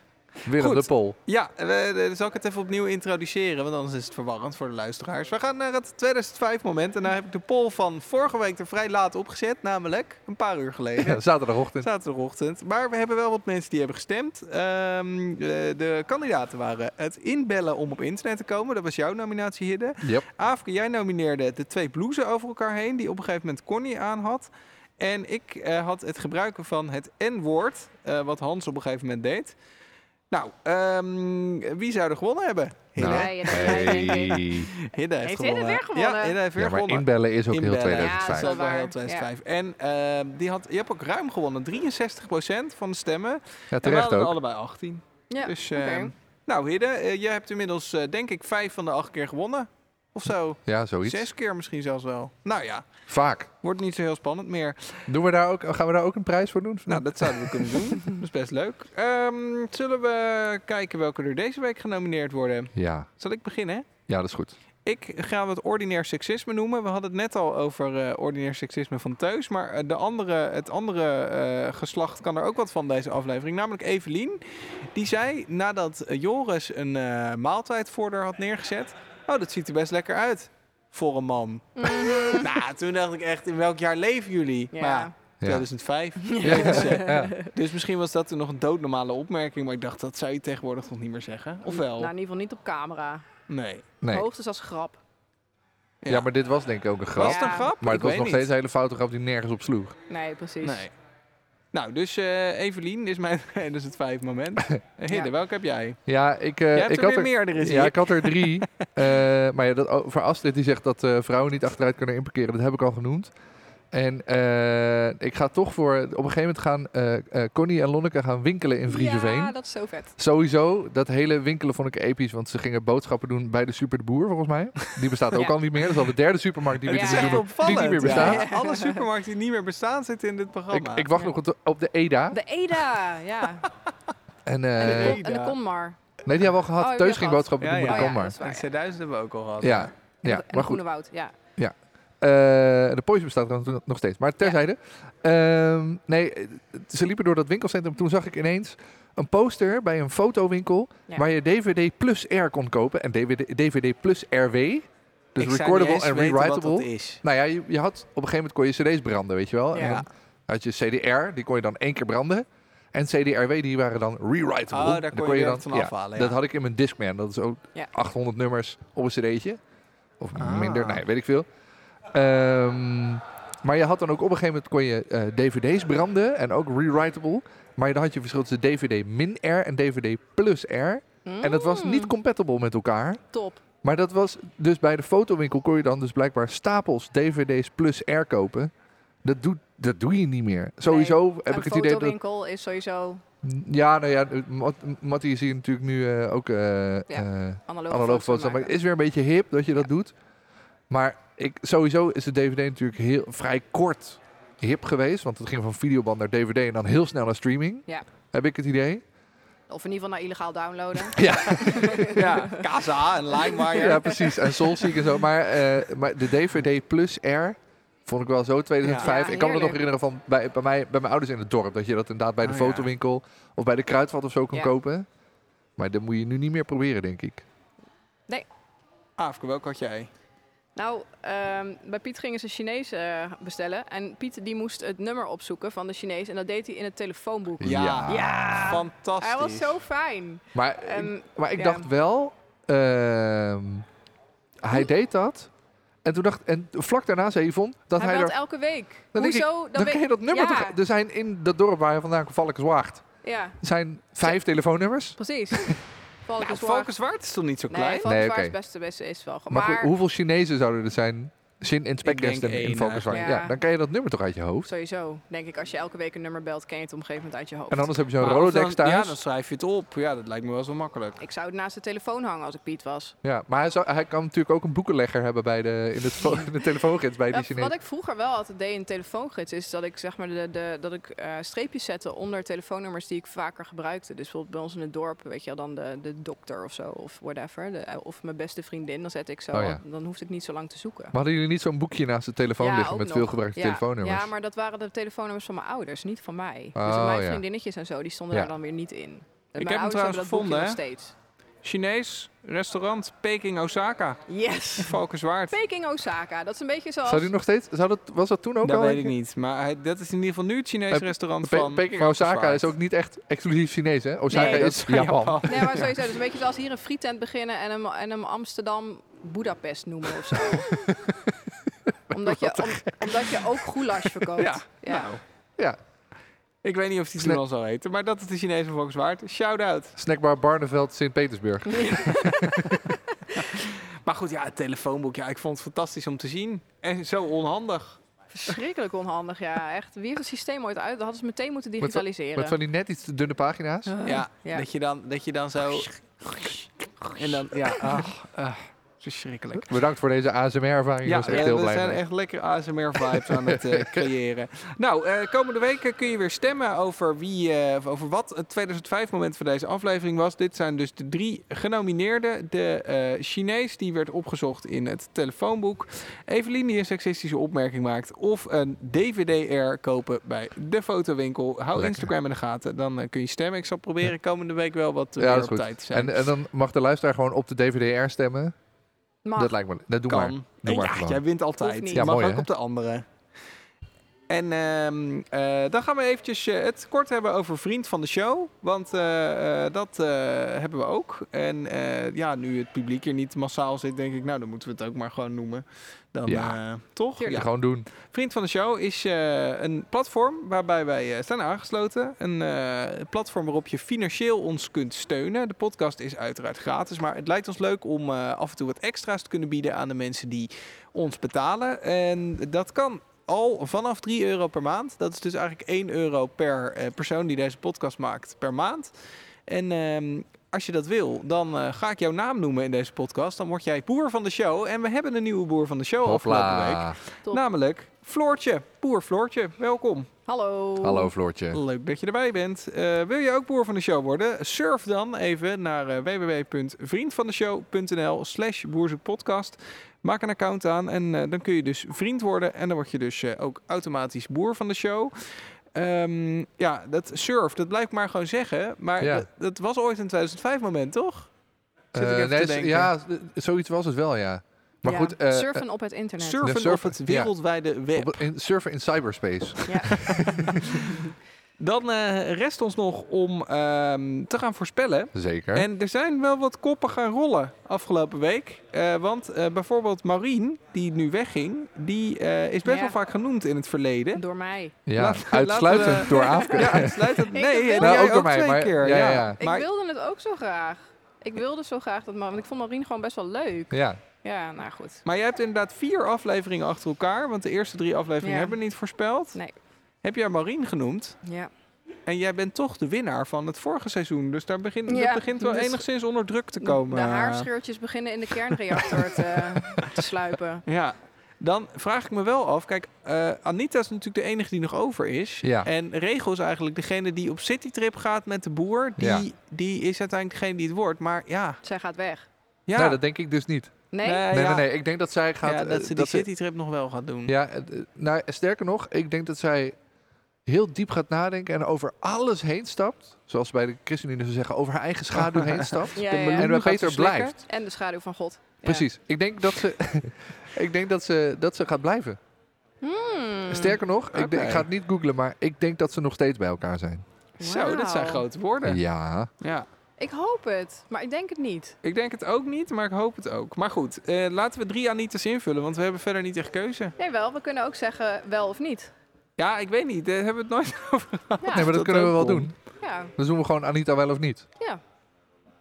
S3: Willem
S1: Goed.
S3: de Pol.
S1: Ja, we, eh, zal ik het even opnieuw introduceren, want anders is het verwarrend voor de luisteraars. We gaan naar het 2005 moment en daar heb ik de poll van vorige week er vrij laat opgezet, namelijk een paar uur geleden.
S3: Ja, zaterdagochtend.
S1: Zaterdagochtend. Maar we hebben wel wat mensen die hebben gestemd. Ehm, eh, de kandidaten waren het inbellen om op internet te komen. Dat was jouw nominatie, Hidde.
S3: Yep.
S1: Afrika, jij nomineerde de twee blouses over elkaar heen... die op een gegeven moment Connie aan had. En ik eh, had het gebruiken van het N-woord... eh, wat Hans op een gegeven moment deed. Nou, ehm, wie zou er gewonnen hebben? Hidde.
S3: Nou,
S2: Nee, dat ga je denken.
S3: hey.
S1: Hidde heeft,
S2: Heeft Hidde
S1: gewonnen.
S2: weer gewonnen?
S1: Ja, Hidde heeft weer
S3: Ja, maar
S1: gewonnen.
S3: inbellen is ook heel
S1: Inbellen.
S2: Ja,
S1: Dat
S3: 2005.
S2: zo.
S1: is wel
S2: waar,
S1: heel 2005. En ehm, die had, je hebt ook ruim gewonnen. 63% van de stemmen.
S3: Ja,
S1: En we
S3: terecht
S1: hadden
S3: ook.
S1: allebei 18.
S2: Ja,
S1: Dus,
S2: oké.
S1: ehm, nou Hidde, eh, jij hebt inmiddels eh, denk ik vijf van de acht keer gewonnen. Of zo.
S3: Ja, zoiets.
S1: Zes keer misschien zelfs wel. Nou ja,
S3: Vaak.
S1: wordt niet zo heel spannend meer.
S3: Doen we daar ook, gaan we daar ook een prijs voor doen?
S1: Nou, dat zouden we kunnen doen. Dat is best leuk. Ehm, zullen we kijken welke er deze week genomineerd worden?
S3: Ja.
S1: Zal ik beginnen?
S3: Ja, dat is goed.
S1: Ik ga het ordinair seksisme noemen. We hadden het net al over eh, ordinair seksisme van Teus. Maar eh, de andere, het andere eh, geslacht kan er ook wat van deze aflevering. Namelijk Evelien. Die zei nadat eh, Joris een eh, maaltijd voor haar had neergezet. Oh, dat ziet er best lekker uit. Voor een man. nou, toen dacht ik echt, in welk jaar leven jullie?
S2: Mhm. Ja.
S1: Maar ja,
S3: Ja.
S1: 2005.
S3: Ja.
S1: Dus, eh,
S3: Ja.
S1: dus misschien was dat toen nog een doodnormale opmerking. Maar ik dacht, dat zou je tegenwoordig toch niet meer zeggen? Of wel?
S2: Nou, in ieder geval niet op camera.
S1: Nee.
S3: Nee.
S2: Hoogstens als grap.
S3: Ja. maar dit was denk ik ook een grap.
S1: Was het een
S2: Ja.
S1: grap?
S3: Maar
S1: Ik
S3: het was
S1: weet
S3: nog
S1: niet.
S3: steeds een hele foute grap die nergens op sloeg.
S2: Nee, precies.
S1: Nee. Nou, dus eh, Evelien is mijn. dat is het vijf moment. Eh, Hidde,
S2: Ja.
S1: welke heb jij?
S3: Ja, ik, eh,
S1: jij hebt
S3: ik
S1: er
S3: had
S1: weer
S3: er
S1: meerdere zie
S3: Ja,
S1: ik.
S3: ik had er drie. Eh, maar ja, dat, o- voor Astrid die zegt dat eh, vrouwen niet achteruit kunnen inparkeren, dat heb ik al genoemd. En eh, ik ga toch voor, op een gegeven moment gaan eh, eh, Connie en Lonneke gaan winkelen in Vriezenveen.
S2: Ja, dat is zo vet.
S3: Sowieso, dat hele winkelen vond ik episch, want ze gingen boodschappen doen bij de Super de Boer, volgens mij. Die bestaat ook
S2: Ja.
S3: al niet meer, dat is al de derde supermarkt die we
S2: Ja.
S1: Het
S3: dit
S1: is echt
S3: doen, die
S1: opvallend.
S3: niet meer
S1: ja.
S3: bestaat.
S1: Alle supermarkten die niet meer bestaan zitten in dit
S3: Ik,
S1: programma.
S3: ik wacht
S2: Ja.
S3: nog op de- op de EDA.
S2: De Eda, ja.
S3: en,
S2: En
S3: eh,
S2: de, kon, en
S1: Eda.
S2: de Konmar.
S3: nee, die hebben we al gehad.
S2: Oh, die
S3: Teus
S2: hebben
S3: ging
S2: we al
S3: boodschappen
S1: Ja,
S3: doen bij
S1: ja.
S3: de
S2: Oh ja,
S3: Konmar.
S2: dat is waar.
S1: En 2000 hebben we ook al gehad.
S3: Ja, dus ja,
S2: en de
S3: maar goed.
S2: Groene Woud, ja.
S3: Eh, de Poison bestaat trouwens nog steeds. Maar terzijde. Ehm, nee, eh, ze liepen door dat winkelcentrum. Toen zag ik ineens een poster bij een fotowinkel...
S2: Ja.
S3: waar je DVD plus R kon kopen. En DVD, DVD plus RW. Dus
S1: Ik zou niet
S3: recordable
S1: eens
S3: en
S1: weten Wat dat
S3: rewritable.
S1: is.
S3: Nou ja, je, je had op een gegeven moment kon je cd's branden, weet je wel. En
S2: Ja.
S3: dan had je CDR, die kon je dan één keer branden. En CDRW, die waren dan rewritable.
S1: Oh, daar
S3: Dan
S1: kon je,
S3: dan-
S1: dat van
S3: ja,
S1: afhalen. Ja.
S3: dat had ik in mijn Discman. Dat is ook
S2: Ja.
S3: 800 nummers op een cd'tje. Of
S1: Ah.
S3: minder, nee, weet ik veel. Ehm, maar je had dan ook op een gegeven moment kon je eh, dvd's branden en ook rewritable. Maar dan had je verschil tussen dvd min R en dvd plus R. En dat was
S1: Mm.
S3: niet compatible met elkaar.
S2: Top.
S3: Maar dat was dus bij de fotowinkel kon je dan dus blijkbaar stapels dvd's plus R kopen. Dat, doet, dat doe je niet meer. Sowieso heb
S2: een
S3: ik het idee dat...
S2: fotowinkel is sowieso
S3: Ja, nou ja, Mat- Mattie is hier natuurlijk nu eh, ook... eh, eh,
S2: analoog.
S3: analoog foto's maken. Het is weer een beetje hip dat je dat doet. Maar ik, sowieso is de DVD natuurlijk heel, vrij kort hip geweest. Want het ging van videoband naar DVD en dan heel snel naar streaming.
S2: Ja.
S3: Heb ik het idee?
S2: Of in ieder geval naar illegaal downloaden.
S1: ja, Casa en LimeWire.
S3: Ja, precies. En Soulseek en zo. Maar, eh, maar de DVD plus R vond ik wel zo 2005.
S2: Ja. Ja,
S3: ik kan me dat nog
S2: heerlijk.
S3: herinneren van bij, bij, mij, bij mijn ouders in het dorp. Dat je dat inderdaad bij de
S1: Oh, ja.
S3: fotowinkel of bij de kruidvat of zo kon
S2: Ja.
S3: kopen. Maar dat moet je nu niet meer proberen, denk ik.
S1: Aafke, Ah, welke had jij?
S2: Nou, ehm, bij Piet gingen ze Chinees eh, bestellen. En Piet die moest het nummer opzoeken van de Chinees. En dat deed hij in het telefoonboek.
S1: Ja.
S2: Ja.
S1: Fantastisch.
S2: Hij was zo fijn.
S3: Maar
S2: Ehm,
S3: Maar ik
S2: Ja.
S3: dacht wel, ehm,
S2: Hm?
S3: hij deed dat. En toen dacht en vlak daarna zei Yvonne dat
S2: hij
S3: hij,
S2: belt
S3: er.
S2: elke week.
S3: Dan denk ik,
S2: Hoezo?
S3: Dan
S2: eh, weet-
S3: ken je dat nummer
S2: ja.
S3: toch? Er zijn in dat dorp waar hij vandaan komt, Valkenswaard.
S2: Ja,
S3: Er zijn vijf telefoonnummers.
S2: precies.
S1: Nou,
S2: Valkenswaard.
S1: Valken Zwart is toch niet zo
S2: Nee,
S1: klein?
S2: Valkenswaard
S3: oké.
S2: is best de beste is wel.
S3: Maar,
S2: Maar,
S3: goed, hoeveel Chinezen zouden er zijn? Shin en Speknest
S1: denk
S3: en in
S1: één
S3: Valkenswaard. Ja.
S2: eigenlijk. Ja.
S3: dan ken je dat nummer toch uit je hoofd?
S2: sowieso, denk ik, als je elke week een nummer belt, ken je het op een gegeven moment uit je hoofd.
S3: En anders heb je zo'n
S1: Maar of
S3: Rolodex
S1: dan-
S3: thuis.
S1: Ja, dan schrijf je het op. Ja, dat lijkt me wel zo makkelijk.
S2: Ik zou het naast de telefoon hangen als ik Piet was.
S3: Ja, maar hij, zou, hij kan natuurlijk ook een boekenlegger hebben bij de, in, het, vo- in de telefoongids bij die
S2: Eh, Wat
S3: Chinezen.
S2: ik vroeger wel altijd deed in telefoongids is dat ik zeg maar de, de, dat ik eh, streepjes zette onder telefoonnummers die ik vaker gebruikte. Dus bijvoorbeeld bij ons in het dorp, weet je wel, dan de, de dokter of zo of whatever. De- eh, of mijn beste vriendin, dan zet ik zo.
S3: Oh ja.
S2: Dan hoefde ik niet zo lang te zoeken.
S3: Maar hadden jullie niet zo'n boekje naast de telefoon
S2: Ja,
S3: liggen
S2: ook
S3: met
S2: nog.
S3: veelgebruikte
S2: Ja,
S3: telefoonnummers?
S2: Ja, maar dat waren de telefoonnummers van mijn ouders, niet van mij. dus
S3: Oh,
S2: mijn
S3: ja.
S2: vriendinnetjes en zo, die stonden
S3: Ja.
S2: daar dan weer niet in. En
S1: Ik
S2: mijn
S1: heb hem
S2: ouders hebben dat
S1: trouwens
S2: boekje
S1: gevonden,
S2: nog
S1: hè?
S2: steeds.
S1: Chinees, restaurant, Peking, Osaka.
S2: Yes!
S1: Valkenswaard.
S2: Peking Osaka, dat is een beetje zoals...
S3: Zou die nog steeds, zou dat, was dat toen ook
S1: dat
S3: al?
S1: weet ik niet. Maar hij- dat is in ieder geval nu het Chinees
S3: Eh,
S1: restaurant
S3: Pe-
S1: van
S3: Peking
S1: van
S3: Osaka
S1: Zwaard.
S3: is ook niet echt exclusief Chinees, hè? Osaka
S2: Nee, dat
S3: is Japan.
S2: Nee, maar sowieso. Dus een beetje zoals hier een frietent beginnen en hem, en hem Amsterdam Budapest noemen of zo. omdat, je, om- omdat je ook goulash verkoopt.
S1: Ja, nou.
S3: Ja.
S1: Ik weet niet of die
S3: Sne-
S1: toen al zou heten, maar dat is de Chinees van Valkenswaard. Shout-out.
S3: Snackbar Barneveld, Sint-Petersburg.
S2: nou.
S1: Maar goed, ja, het telefoonboek. Ja, ik vond het fantastisch om te zien. En zo onhandig.
S2: Verschrikkelijk onhandig, ja. Echt, wie heeft het systeem ooit uit? Dat hadden ze meteen moeten
S3: wa-
S2: digitaliseren.
S3: Met van die net iets te dunne pagina's.
S1: Ja,
S2: ja.
S1: Dat, je dan, dat je dan zo... En dan, ja, ah, ah. Verschrikkelijk.
S3: Bedankt voor deze ASMR-ervaring. Ja,
S1: Ja,
S3: was echt
S1: eh,
S3: heel
S1: we
S3: blij
S1: zijn
S3: mee.
S1: echt lekker ASMR-vibes aan het eh, creëren. Nou, eh, komende week eh, kun je weer stemmen over, wie, eh, of over wat het 2005-moment van deze aflevering was. Dit zijn dus de drie genomineerden. De eh, Chinees, die werd opgezocht in het telefoonboek. Evelien, die een seksistische opmerking maakt. Of een DVD-R kopen bij de fotowinkel. Hou
S3: Lekker.
S1: Instagram in de gaten, dan eh, kun je stemmen. Ik zal proberen komende week wel wat eh, meer
S3: Ja, dat is
S1: op
S3: goed.
S1: tijd te zijn.
S3: En, en dan mag de luisteraar gewoon op de DVD-R stemmen.
S2: Mag.
S3: Dat lijkt me. Dat doe
S1: kan.
S3: maar. Doe maar
S1: ja,
S3: gewoon.
S1: jij wint altijd.
S2: Hoeft
S1: Je
S2: niet.
S3: Ja,
S1: mag
S3: mooi,
S1: ook
S3: hè?
S1: op de andere. En ehm, eh, dan gaan we eventjes eh, het kort hebben over vriend van de show. Want eh, eh, dat eh, hebben we ook. En eh, ja, nu het publiek hier niet massaal zit, denk ik, nou, dan moeten we het ook maar gewoon noemen. Dan,
S3: Ja.
S1: eh, toch?
S2: Tuurlijk.
S1: Ja.
S3: Gewoon doen.
S1: Vriend van de Show is eh, een platform waarbij wij eh, staan aangesloten. Een eh, platform waarop je financieel ons kunt steunen. De podcast is uiteraard gratis, maar het lijkt ons leuk om eh, af en toe wat extra's te kunnen bieden aan de mensen die ons betalen. En dat kan al vanaf 3 euro per maand. Dat is dus eigenlijk 1 euro per eh, persoon die deze podcast maakt per maand. En ehm, als je dat wil, dan eh, ga ik jouw naam noemen in deze podcast. Dan word jij boer van de show. En we hebben een nieuwe boer van de show afgelopen week.
S3: Hopla.
S2: Top.
S1: Namelijk Floortje. Boer Floortje, welkom.
S2: Hallo.
S3: Hallo Floortje.
S1: Leuk dat je erbij bent. Eh, wil je ook boer van de show worden? Surf dan even naar eh, www.vriendvandeshow.nl slash boerzoekpodcast. Maak een account aan en eh, dan kun je dus vriend worden. En dan word je dus eh, ook automatisch boer van de show. Ehm, ja, dat surf, dat blijf ik maar gewoon zeggen. Maar
S3: Ja.
S1: dat, dat was ooit een 2005 moment, toch? Zit ik
S3: Eh,
S1: even
S3: nee,
S1: te
S3: z-
S1: denken.
S3: ja, z- zoiets was het wel, ja. Maar
S2: Ja,
S3: goed, eh,
S2: surfen op het internet.
S1: Surfen,
S3: surfen,
S1: op
S3: ja.
S1: het wereldwijde web.
S3: op het- in, surfen in cyberspace.
S2: Ja.
S1: Dan eh, rest ons nog om ehm, te gaan voorspellen.
S3: Zeker.
S1: En er zijn wel wat koppen gaan rollen afgelopen week. Eh, want eh, bijvoorbeeld Marien, die nu wegging, die eh, is best
S2: Ja.
S1: wel vaak genoemd in het verleden.
S2: Door mij.
S3: ja,
S1: laat-
S3: uitsluitend
S1: laten we-
S3: door Aafke.
S1: Ja, uitsluitend.
S2: Ik
S1: Nee, nou,
S2: wil-
S3: Nou,
S1: ook
S3: ook door
S1: door
S3: mij,
S1: twee
S3: maar-
S1: keer. Ja,
S3: ja, ja, ja.
S1: Maar
S2: Ik wilde het ook zo graag. Ik wilde zo graag dat, Ma- want ik vond Marien gewoon best wel leuk.
S3: Ja,
S2: Ja, nou goed.
S1: Maar jij hebt inderdaad vier afleveringen achter elkaar. Want de eerste drie afleveringen
S2: Ja.
S1: hebben we niet voorspeld.
S2: Nee.
S1: Heb jij Marien genoemd?
S2: Ja.
S1: En jij bent toch de winnaar van het vorige seizoen. Dus daar begint,
S2: Ja,
S1: dat begint wel
S2: dus-
S1: enigszins onder druk te komen. eh.
S2: De haarscheurtjes beginnen in de kernreactor te, te sluipen.
S1: Ja, dan vraag ik me wel af. Kijk, eh, Anita is natuurlijk de enige die nog over is.
S3: Ja.
S1: En Regel is eigenlijk degene die op citytrip gaat met de boer. Die,
S3: Ja.
S1: die is uiteindelijk degene die het wordt. Maar ja,
S2: Zij gaat weg.
S1: ja.
S3: Nou, dat denk ik dus niet.
S2: Nee?
S1: Nee,
S3: Nee,
S1: ja.
S3: nee, nee. Ik denk dat zij gaat...
S1: Ja,
S3: eh,
S1: dat ze die
S3: dat ze-
S1: citytrip nog wel gaat doen.
S3: Ja, eh, d- nou, sterker nog, ik denk dat zij heel diep gaat nadenken en over alles heen stapt. Zoals ze bij de ChristenUnie ze zeggen, over haar eigen schaduw heen stapt.
S2: Ja,
S1: De
S2: ja.
S1: meloen
S3: En bij
S1: gaat
S3: Peter
S1: verslikken.
S3: blijft.
S2: En de schaduw van God. Ja.
S3: Precies. Ik denk dat ze, ik denk dat ze, dat ze gaat blijven.
S2: Hmm.
S3: Sterker nog, ik, denk- ik
S1: Oké.
S3: ga het niet googlen, maar ik denk dat ze nog steeds bij elkaar zijn.
S1: Zo, dat zijn
S2: Wauw.
S1: grote woorden. Ja.
S3: Ja.
S2: Ik hoop het, maar ik denk het niet.
S1: Ik denk het ook niet, maar ik hoop het ook. Maar goed, eh, laten we drie Anita's invullen, want we hebben verder niet echt keuze.
S2: Nee, wel, we kunnen ook zeggen wel of niet.
S1: Ja, ik weet niet, daar hebben we het nooit
S2: Ja,
S3: Nee, maar dat
S1: dat
S3: kunnen we wel
S1: ook
S3: doen.
S2: ja,
S3: Dus doen we gewoon Anita wel of niet.
S2: ja.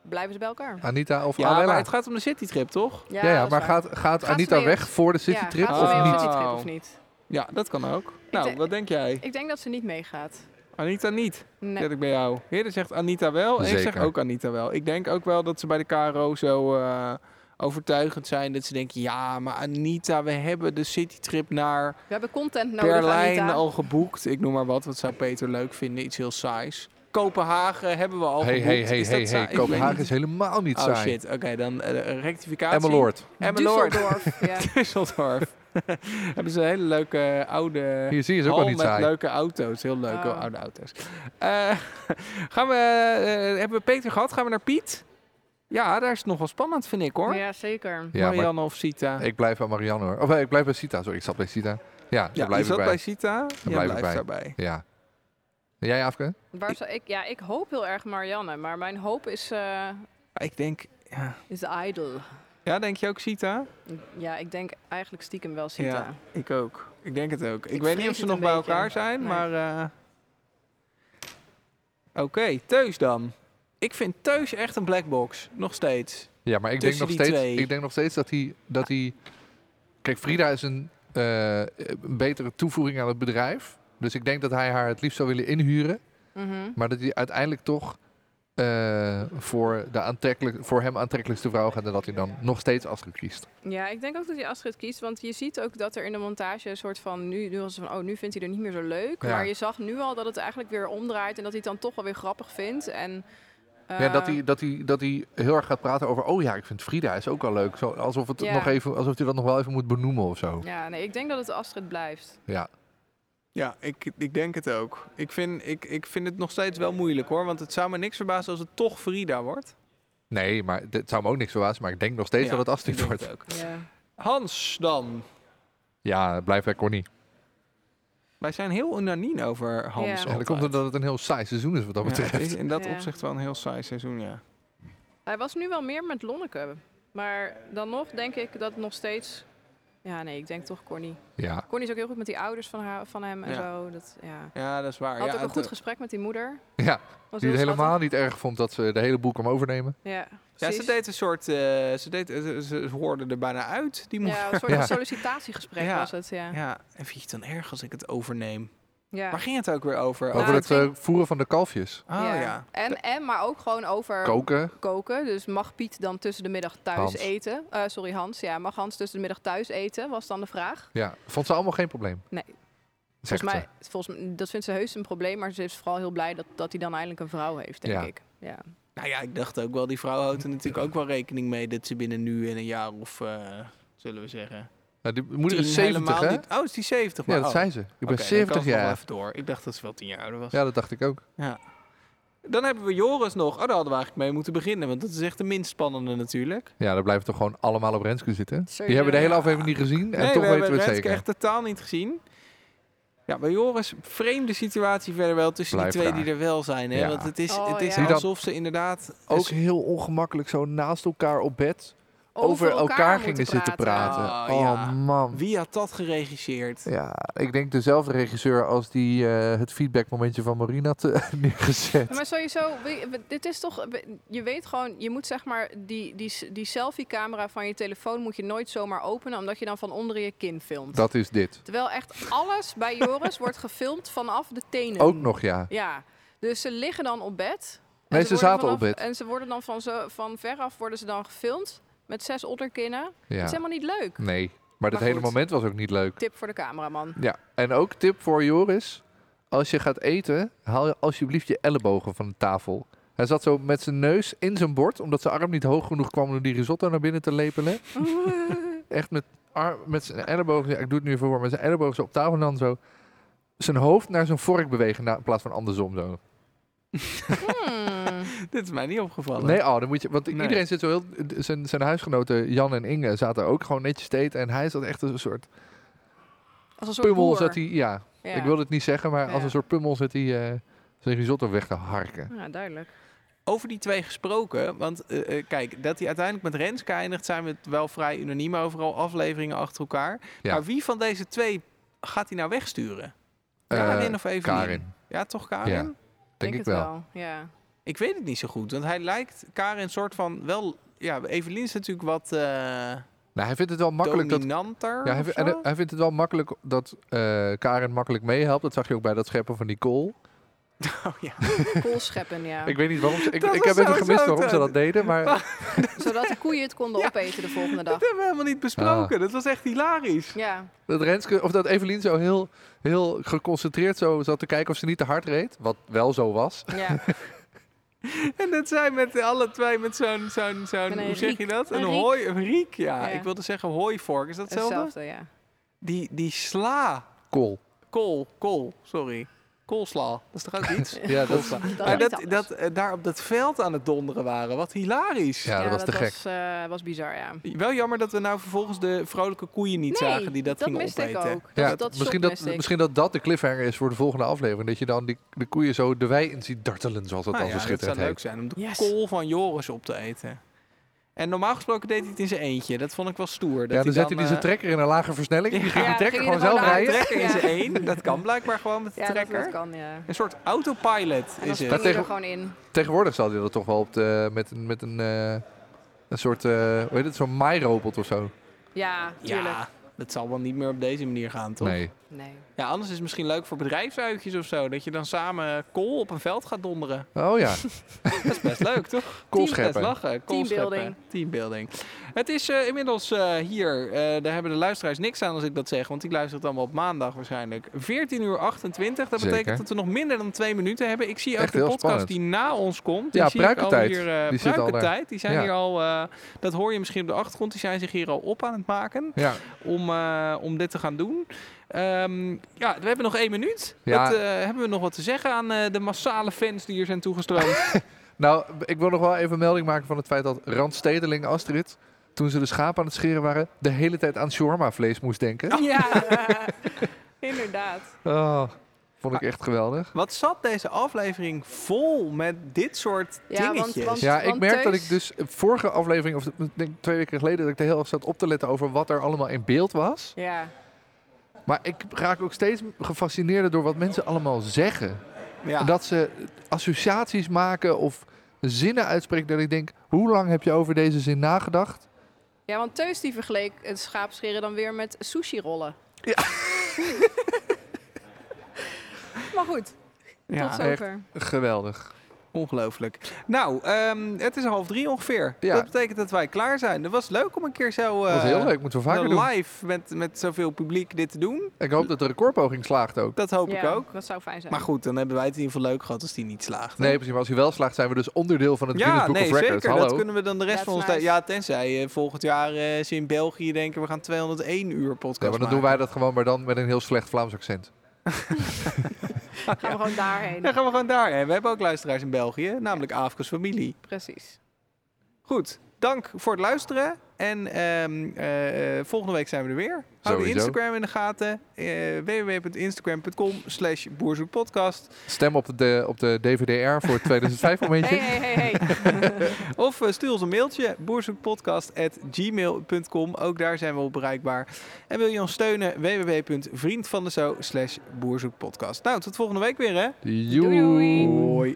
S2: Blijven ze bij elkaar.
S3: Anita of
S1: Ja, maar
S3: Awella.
S1: het gaat om de citytrip, toch?
S3: Ja, ja,
S2: dat
S3: maar
S2: is waar.
S3: gaat, gaat,
S2: ze
S3: Anita
S2: mee op-
S3: weg voor de
S2: Ja,
S3: citytrip
S2: gaat
S1: Oh.
S2: ze mee
S3: of
S2: op
S3: niet?
S2: de citytrip of niet?
S1: Ja, dat kan ook. Nou,
S2: denk-
S1: wat denk jij?
S2: Ik denk dat ze niet meegaat.
S1: Anita niet.
S2: Nee.
S1: Zet ik bij jou. Heerder zegt Anita wel. En ik zeg
S3: Zeker.
S1: ook Anita wel. Ik denk ook wel dat ze bij de KRO zo eh, overtuigend zijn. Dat ze denken, ja, maar Anita, we hebben de citytrip naar
S2: We hebben content nodig,
S1: Berlijn
S2: Anita.
S1: al geboekt. Ik noem maar wat. Wat zou Peter leuk vinden? Iets heel saais. Kopenhagen hebben we al
S3: Hey,
S1: geboekt.
S3: hey, hey,
S1: Is dat
S3: hey,
S1: saai?
S3: hey.
S1: Ik weet
S3: Kopenhagen
S1: niet.
S3: is helemaal niet
S1: Oh
S3: saai.
S1: shit, oké, dan eh, rectificatie.
S3: Emma Lord.
S1: Emmeloord.
S2: Düsseldorf, ja.
S1: Düsseldorf. hebben ze een hele leuke eh, oude...
S3: Hier zie je ze ook
S1: Al
S3: al niet
S1: Oh, met
S3: saai.
S1: leuke auto's. Heel leuk,
S2: Oh.
S1: heel oude auto's. Eh, gaan we, eh, hebben we Peter gehad? Gaan we naar Piet? Ja, daar is het nog wel spannend, vind ik hoor.
S2: Ja, zeker.
S3: Ja, maar
S1: Marianne of Sita.
S3: Ik blijf bij Marianne hoor. Of eh, ik blijf bij Sita. Sorry, ik zat bij Sita. Ja, daar
S1: ja,
S3: blijf
S1: je
S3: ik
S1: zat
S3: bij.
S1: bij Sita. Jij
S3: blijf ik
S1: blijft
S3: bij.
S1: daarbij.
S3: Ja. En jij, Afke?
S2: Waar zou ik, ja, ik hoop heel erg Marianne, maar mijn hoop is, eh
S1: Ah, Ik denk, ja.
S2: is idol.
S1: ja, denk je ook Sita?
S2: Ja, ik denk eigenlijk stiekem wel Sita.
S1: Ja, ik ook. Ik denk het ook. Ik, weet
S2: Ik vrees
S1: niet of ze
S2: het
S1: nog
S2: een
S1: bij
S2: beetje.
S1: elkaar zijn,
S2: Nee.
S1: maar... eh, Oké, Teus dan. Ik vind Teus echt een black box. Nog steeds.
S3: Ja, maar ik denk,
S1: Tussen
S3: nog
S1: die
S3: steeds,
S1: twee.
S3: ik denk nog steeds dat hij... Dat hij kijk, Frida is een, eh, een betere toevoeging aan het bedrijf. Dus ik denk dat hij haar het liefst zou willen inhuren.
S2: Mhm.
S3: Maar dat hij uiteindelijk toch eh, voor, de aantrekkelijk, voor hem aantrekkelijkste vrouw gaat en dat hij dan nog steeds Astrid kiest.
S2: Ja, ik denk ook dat hij Astrid kiest. Want je ziet ook dat er in de montage een soort van... Nu, nu was het van, oh, nu vindt hij er niet meer zo leuk.
S3: Ja.
S2: Maar je zag nu al dat het eigenlijk weer omdraait. En dat hij het dan toch wel weer grappig vindt. En,
S3: ja,
S2: eh,
S3: dat, hij, dat, hij, dat hij heel erg gaat praten over, oh ja, ik vind Frida is ook wel leuk. Zo, alsof, het
S2: Ja.
S3: nog even, alsof hij dat nog wel even moet benoemen of zo.
S2: Ja, nee, ik denk dat het Astrid blijft.
S3: Ja.
S1: Ja, ik, ik denk het ook. Ik vind, ik, ik vind het nog steeds wel moeilijk hoor. Want het zou me niks verbazen als het toch Frida wordt.
S3: Nee, maar dit zou me ook niks verbazen, maar ik denk nog steeds
S1: Ja,
S3: dat het Astrid
S1: ik denk
S3: wordt.
S1: het ook. Hans dan.
S3: Ja, blijf bij Corny.
S1: Wij zijn heel unaniem over Hans.
S2: Ja. Ja, dat
S3: En dan komt het
S1: altijd.
S3: dat het een heel saai seizoen is wat dat
S1: Ja, het
S3: betreft.
S1: is in dat
S2: Ja.
S1: opzicht wel een heel saai seizoen, ja.
S2: Hij was nu wel meer met Lonneke. Maar dan nog denk ik dat nog steeds... Ja, nee, ik denk toch Corny.
S3: Ja.
S2: Corny is ook heel goed met die ouders van, haar, van hem en
S1: Ja.
S2: zo. Dat, ja.
S1: Ja, dat is waar.
S2: Had
S1: ja,
S2: ook een
S1: het- eh,
S2: goed gesprek met die moeder.
S3: ja.
S2: Was
S3: eh, Die het
S2: heel
S3: helemaal niet erg vond dat ze de hele boel kwam overnemen.
S2: schattig. Ja,
S1: ja,
S2: precies.
S1: ze deed een soort... eh, ze, deed, ze, ze hoorde er bijna uit, die moeder.
S2: Ja, een soort
S3: Ja.
S2: van sollicitatiegesprek
S1: Ja.
S2: was het, ja.
S1: Ja. en vind je het dan erg als ik het overneem?
S2: ja.
S1: Waar ging het ook weer over?
S2: Nou,
S3: over
S1: Over
S3: het
S2: het
S3: eh,
S2: ging-
S3: voeren van de kalfjes.
S1: Oh ja.
S2: En, en, maar ook gewoon over
S3: Koken.
S2: koken. Dus mag Piet dan tussen de middag thuis
S3: Hans.
S2: eten? Eh, sorry, Hans. Ja, mag Hans tussen de middag thuis eten? Was dan de vraag.
S3: Ja. Vond ze allemaal geen probleem.
S2: Nee.
S3: Zegt
S2: Volgens
S3: mij.
S2: mij, volgens mij, dat vindt ze heus een probleem. Maar ze is vooral heel blij dat, dat hij dan eindelijk een vrouw heeft, denk
S3: Ja.
S2: ik. Ja.
S1: Nou ja, ik dacht ook wel, die vrouw houdt er natuurlijk ook wel rekening mee... dat ze binnen nu en een jaar of, eh, zullen we zeggen...
S3: die moeder is
S1: tien
S3: 70,
S1: helemaal
S3: hè?
S1: niet- Oh, is die 70? Maar,
S3: Ja, dat
S1: oh.
S3: zei ze. Ik ben
S1: Oké, dan kan
S3: 70
S1: het nog wel
S3: jaar.
S1: even door. Ik dacht dat ze wel 10 jaar ouder was.
S3: Ja, dat dacht ik ook.
S1: Dan hebben we Joris nog. Oh, daar hadden we eigenlijk mee moeten beginnen. Want dat is echt de minst spannende natuurlijk.
S3: Ja, dan blijven we toch gewoon allemaal op Renske zitten. Die
S2: Sowieso,
S3: hebben de hele
S1: ja.
S3: aflevering niet gezien en
S1: nee,
S3: toch
S1: we
S3: weten
S1: hebben
S3: we het
S1: Renske
S3: zeker.
S1: echt totaal niet gezien. Ja, bij Joris, vreemde situatie verder wel tussen
S3: Blijft
S1: die twee
S3: raar.
S1: die er wel zijn. Hè?
S3: Ja.
S1: Want het is,
S2: Oh,
S1: het is
S2: ja. Die
S3: dan-
S1: alsof ze inderdaad... dus
S3: Ook heel ongemakkelijk zo naast elkaar op bed over elkaar,
S2: moeten
S3: gingen zitten praten.
S1: Oh,
S3: oh
S1: ja.
S3: man.
S1: Wie had dat geregisseerd?
S3: Ja, ik denk dezelfde regisseur als die eh, het feedbackmomentje van Marina had eh, neergezet.
S2: Maar sowieso, we- we- dit is toch, we- je weet gewoon, je moet zeg maar die, die, s- die selfie-camera van je telefoon moet je nooit zomaar openen, omdat je dan van onderen je kin filmt.
S3: Dat is dit.
S2: Terwijl echt alles bij Joris wordt gefilmd vanaf de tenen.
S3: Ook nog, ja.
S2: Ja, dus ze liggen dan op bed. En
S3: Nee, ze
S2: worden
S3: zaten
S2: vanaf-
S3: op bed.
S2: En ze worden dan van, zo, van veraf worden ze dan gefilmd met zes onderkinnen. Het is
S3: ja.
S2: helemaal niet leuk.
S3: Nee, maar dat
S2: Maar
S3: hele
S2: goed.
S3: moment was ook niet leuk.
S2: Tip voor de cameraman.
S3: Ja, en ook tip voor Joris. Als je gaat eten, haal je alsjeblieft je ellebogen van de tafel. Hij zat zo met zijn neus in zijn bord, omdat zijn arm niet hoog genoeg kwam om die risotto naar binnen te lepelen.
S2: Hmm.
S3: Echt met, ar- met zijn ellebogen, ja, ik doe het nu voor, met zijn ellebogen zo op tafel en dan zo zijn hoofd naar zijn vork bewegen na- in plaats van andersom zo.
S2: Hmm.
S1: Dit is mij niet opgevallen.
S3: Nee, oh, dan moet je, want
S1: Nee.
S3: iedereen zit zo heel, d- zijn, zijn huisgenoten Jan en Inge zaten ook gewoon netjes te eten en hij zat echt als een soort
S2: Als een soort
S3: pummel
S2: boer.
S3: zat hij, ja,
S2: Ja.
S3: ik wilde het niet zeggen, maar als
S2: Ja.
S3: een soort pummel zit hij eh, zijn risotto weg te harken.
S2: Ja, duidelijk.
S1: Over die twee gesproken, want eh, eh, kijk, dat hij uiteindelijk met Renske eindigt, zijn we het wel vrij unaniem overal, afleveringen achter elkaar.
S3: Ja.
S1: Maar wie van deze twee gaat hij nou wegsturen?
S3: Eh,
S1: Karin of Evelien?
S3: Karin, denk,
S1: Ja, toch Karin?
S3: Ja. ik
S2: het
S3: wel.
S2: Ja.
S1: Ik weet het niet zo goed, want hij lijkt Karin soort van wel... Ja, Evelien is natuurlijk wat eh
S3: Nou, hij vindt het wel makkelijk dat...
S1: dominanter
S3: Ja, hij,
S1: of
S3: vindt- en
S1: zo.
S3: hij- hij vindt het wel makkelijk dat eh, Karin makkelijk meehelpt. Dat zag je ook bij dat scheppen van Nicole.
S1: Oh, ja.
S2: Kool scheppen, ja.
S3: Ik weet niet waarom ze... Ik,
S1: Dat
S3: ik
S1: was
S3: heb even
S1: sowieso
S3: gemist waarom
S1: het-
S3: ze dat deden, maar...
S2: Zodat de koeien het konden
S1: Ja.
S2: opeten de volgende dag.
S1: Dat hebben we helemaal niet besproken.
S3: Ah.
S1: Dat was echt hilarisch.
S2: Ja,
S3: Dat Renske, of dat Evelien zo heel, heel geconcentreerd zo zat te kijken of ze niet te hard reed. Wat wel zo was.
S2: ja.
S1: En dat zij met alle twee met zo'n, zo'n, zo'n
S2: Met een
S1: hoe zeg je
S2: riek.
S1: dat? Een,
S2: Een riek.
S1: hooi, een riek, ja.
S2: Ja.
S1: Ik wilde zeggen hooivork, is dat hetzelfde?
S2: Hetzelfde, ja.
S1: Die, die sla,
S3: Kool.
S1: kool, kool, sorry. Koolsla, dat is toch ook iets?
S3: Ja, dat,
S1: Koolsla.
S2: Dat
S1: Maar
S2: is
S1: dat,
S2: iets
S1: dat eh, daar op dat veld aan het donderen waren, wat hilarisch.
S3: ja, dat was te gek.
S2: Was, eh, was bizar, ja.
S1: Wel jammer dat we nou vervolgens de vrolijke koeien niet
S2: Nee,
S1: zagen die dat,
S2: dat
S1: gingen
S2: miste ik
S1: opeten.
S2: ook.
S3: Ja,
S2: Dat- dat
S3: misschien,
S2: shot
S3: dat,
S2: miste ik.
S3: misschien dat dat de cliffhanger is voor de volgende aflevering. Dat je dan die, de koeien zo de wei in ziet dartelen, zoals dat
S1: Nou
S3: al
S1: ja, dat zou
S3: verschitterend
S1: leuk
S3: heet.
S1: zijn om de
S2: Yes.
S1: kool van Joris op te eten. En normaal gesproken deed hij het in zijn eentje. Dat vond ik wel stoer. Dat
S3: Ja, dan zette hij
S1: eh,
S3: zijn trekker in een lage versnelling. Die ging
S2: Ja,
S3: die
S2: ging
S3: trekker
S2: hij
S3: gewoon zelf
S2: er gewoon
S3: rijden.
S2: uit.
S1: trekker in
S2: Ja.
S1: zijn één. Dat kan blijkbaar gewoon met de
S2: Ja, dat-
S1: trekker.
S2: dat kan, ja.
S1: Een soort autopilot
S2: En dan
S1: is het.
S2: spring
S3: Dat
S2: je er
S3: tegen-
S2: gewoon in.
S3: Tegenwoordig zal hij dat toch wel op de, met, een- met een, eh, een soort, eh hoe heet het, zo'n maairobot of zo.
S2: Ja, tuurlijk.
S1: Ja, dat zal wel niet meer op deze manier gaan, toch?
S3: Nee.
S2: Nee.
S1: Ja, Ja, anders is het misschien leuk voor bedrijfsuitjes of zo. Dat je dan samen kool op een veld gaat donderen.
S3: Oh ja,
S1: Dat is best leuk, toch? Best
S3: koolscheppen.
S1: lachen. Kool scheppen.
S2: Teambuilding.
S1: Teambuilding. Het is eh, inmiddels eh, hier. eh, daar hebben de luisteraars niks aan als ik dat zeg. Want die luistert allemaal op maandag waarschijnlijk. 14 uur 28. Dat
S3: Zeker.
S1: betekent dat we nog minder dan twee minuten hebben. Ik zie ook
S3: Echt
S1: de
S3: heel
S1: podcast
S3: spannend.
S1: die na ons komt.
S3: Ja,
S1: die zie ik alweer,
S3: Pruikertijd.
S1: eh,
S3: Die zit al daar.
S1: Pruikertijd. Die zijn
S3: Ja.
S1: hier al... eh, dat hoor je misschien op de achtergrond. Die zijn zich hier al op aan het maken.
S3: Ja.
S1: Om, eh, om dit te gaan doen. Ehm, ja, we hebben nog één minuut.
S3: Ja.
S1: Wat, eh, hebben we nog wat te zeggen aan eh, de massale fans die hier zijn toegestroomd?
S3: Nou, ik wil nog wel even melding maken van het feit dat Randstedeling Astrid, toen ze de schapen aan het scheren waren, de hele tijd aan shawarma vlees moest
S2: Oh.
S3: denken.
S2: Ja, inderdaad.
S3: Oh, vond ik echt geweldig.
S1: Wat zat deze aflevering vol met dit soort
S2: Ja, want-
S1: dingetjes?
S2: want-
S3: Ja, ik merk dat
S2: thuis-
S3: ik dus vorige aflevering, of ik denk twee weken geleden, dat ik de hele erg zat op te letten over wat er allemaal in beeld was.
S2: Ja.
S3: Maar ik raak ook steeds gefascineerder door wat mensen allemaal zeggen.
S1: ja.
S3: Dat ze associaties maken of zinnen uitspreken. Dat ik denk, hoe lang heb je over deze zin nagedacht?
S2: ja, want Teus die vergeleek het schaapscheren dan weer met sushi rollen.
S3: Ja.
S2: maar goed,
S1: Ja,
S2: tot
S3: echt.
S2: zover.
S3: Geweldig.
S1: ongelooflijk. Nou, ehm, het is half drie ongeveer.
S3: Ja.
S1: Dat betekent dat wij klaar zijn. Dat was leuk om een keer zo
S3: Dat
S1: eh,
S3: was heel leuk, moeten we vaker doen.
S1: live met, met zoveel publiek dit te doen.
S3: Ik hoop dat de recordpoging slaagt ook.
S1: Dat hoop ik
S2: Ja,
S1: ook.
S2: Dat zou fijn zijn.
S1: Maar goed, dan hebben wij het in ieder geval leuk gehad als die niet slaagt. hè?
S3: Nee, precies. Maar als hij wel slaagt, zijn we dus onderdeel van het
S1: Ja,
S3: Guinness Book
S1: nee,
S3: of
S1: zeker.
S3: Records. Hallo.
S1: Dat kunnen we dan de rest
S2: That's
S1: van ons...
S2: nice.
S1: Ja, tenzij eh, volgend jaar eh, ze in België denken... we gaan 201 uur podcast
S3: Ja, maar dan doen wij dat gewoon, maar dan met een heel slecht Vlaams accent.
S2: gaan we gewoon daarheen.
S1: Dan gaan we gewoon daarheen. We hebben ook luisteraars in België, namelijk Afkes Familie.
S2: Precies.
S1: Goed, dank voor het luisteren. En ehm, eh, eh, volgende week zijn we er weer. Hou de
S3: Sowieso.
S1: Instagram in de gaten. eh www.instagram.com slash boerzoekpodcast.
S3: Stem op de, op de DVDR voor het 2005 momentje.
S2: Hey, hey, hey, hey.
S1: Of eh, stuur ons een mailtje. boerzoekpodcast.gmail.com Ook daar zijn we op bereikbaar. En wil je ons steunen? www.vriendvandeshow slash boerzoekpodcast. Nou, tot volgende week weer hè.
S3: Joe.
S2: doei.
S1: Hoi.